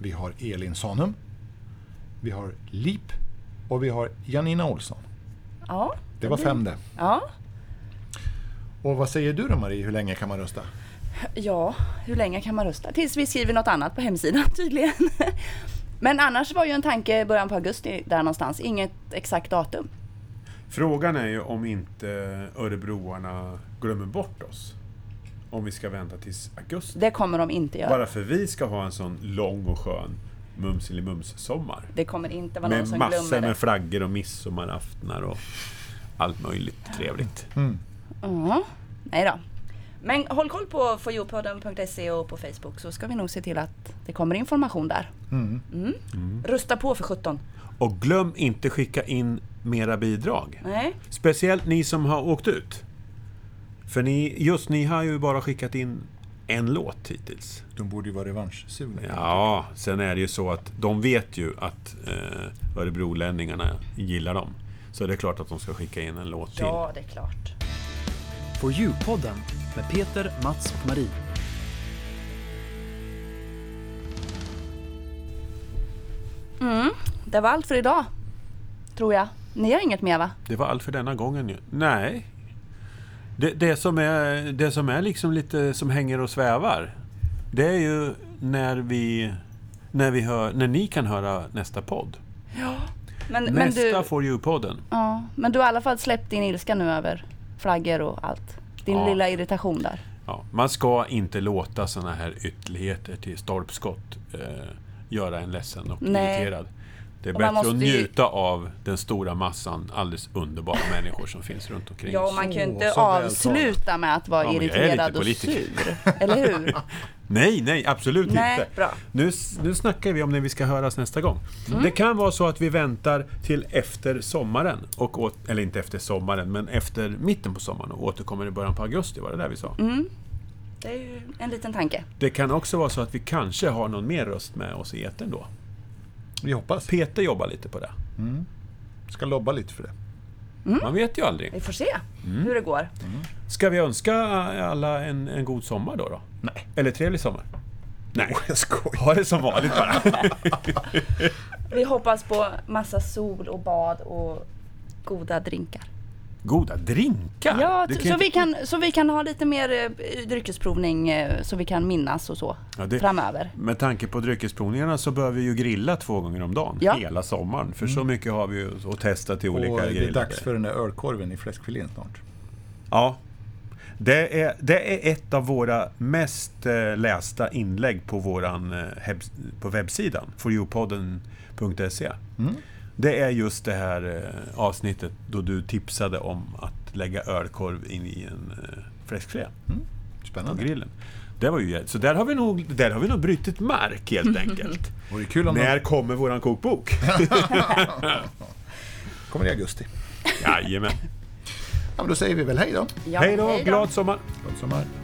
Vi har Elin Sanum. Vi har Lip. Och vi har Janina Olsson. Ja, Det var fem det. ja. Och vad säger du då Marie, hur länge kan man rösta? Ja, hur länge kan man rösta? Tills vi skriver något annat på hemsidan <laughs> tydligen. Men annars var ju en tanke i början på augusti där någonstans. Inget exakt datum. Frågan är ju om inte örebroarna glömmer bort oss. Om vi ska vänta tills augusti. Det kommer de inte göra. Bara för vi ska ha en sån lång och skön Mums-ili-mums-sommar. Det kommer inte vara någon Med som massor glömmer det. med flaggor och midsommaraftnar och allt möjligt trevligt. Ja, nej då. Men håll koll på foryopodden.se och på Facebook så ska vi nog se till att det kommer information där. Mm. Rösta på för 17. Och glöm inte skicka in mera bidrag. Nej. Speciellt ni som har åkt ut. För ni, just ni har ju bara skickat in en låt hittills. De borde ju vara revanschsugna. Ja, sen är det ju så att de vet ju att eh, Örebrolänningarna gillar dem. Så det är klart att de ska skicka in en låt till. Ja, det är klart. På Djurpodden med Peter, Mats och Marie. Det var allt för idag. Tror jag. Ni har inget mer va? Det var allt för denna gången ju. Nej. Det, det, som är, det som är liksom lite som hänger och svävar. Det är ju när vi... När, vi hör, när ni kan höra nästa podd. Men, men, nästa du, For You-podden. ja, men du har i alla fall släppt din ilska nu över flaggor och allt. Din Ja. lilla irritation där. Ja, man ska inte låta såna här ytterligheter till stolpskott eh, göra en ledsen och Nej. irriterad. Det är Och man bättre att måste ju- njuta av den stora massan alldeles underbara människor som finns runt omkring Ja, oss. man kan ju Så- inte så väl avsluta med att vara Ja, men jag är lite irriterad och politiker. sur. Eller hur? <laughs> Nej, nej, absolut Nej, inte. bra. Mm. Nu, s- nu snackar vi om när vi ska höras nästa gång. Det kan vara så att vi väntar till efter sommaren. Och åt, eller inte efter sommaren, men efter mitten på sommaren och återkommer i början på augusti. Var det där vi sa? Det är ju en liten tanke. Det kan också vara så att vi kanske har någon mer röst med oss i etern då. Vi hoppas. Peter jobbar lite på det. Ska lobba lite för det. Mm. Man vet ju aldrig. Vi får se Mm. hur det går. Ska vi önska alla en, en god sommar då? då? Nej. Eller trevlig sommar? Nej. <laughs> Jag skojar. Ha det som vanligt <laughs> bara. Vi hoppas på massa sol och bad och goda drinkar. Goda drinkar! Ja, Det t- kan så, inte- vi kan, så vi kan ha lite mer eh, dryckesprovning eh, så vi kan minnas och så Ja, det- framöver. Med tanke på dryckesprovningarna så behöver vi ju grilla två gånger om dagen Ja. hela sommaren. För så mycket har vi ju att testa till Mm. Och olika det är grillade. dags för den där ölkorven i fläskfilén snart. Ja. Det är, det är ett av våra mest eh, lästa inlägg på, våran, eh, hebs- på webbsidan, foryoupodden.se. Mm. Det är just det här eh, avsnittet då du tipsade om att lägga ölkorv in i en eh, fläskfilé på Spännande. grillen. Det var ju, jä- så där har, vi nog, där har vi nog brutit <laughs> mark helt enkelt. Vore kul om När de kommer <laughs> våran kokbok? kommer i augusti. Jajamän. Ja, men då säger vi väl hej då. Ja, Hej då, glad sommar! Glad sommar.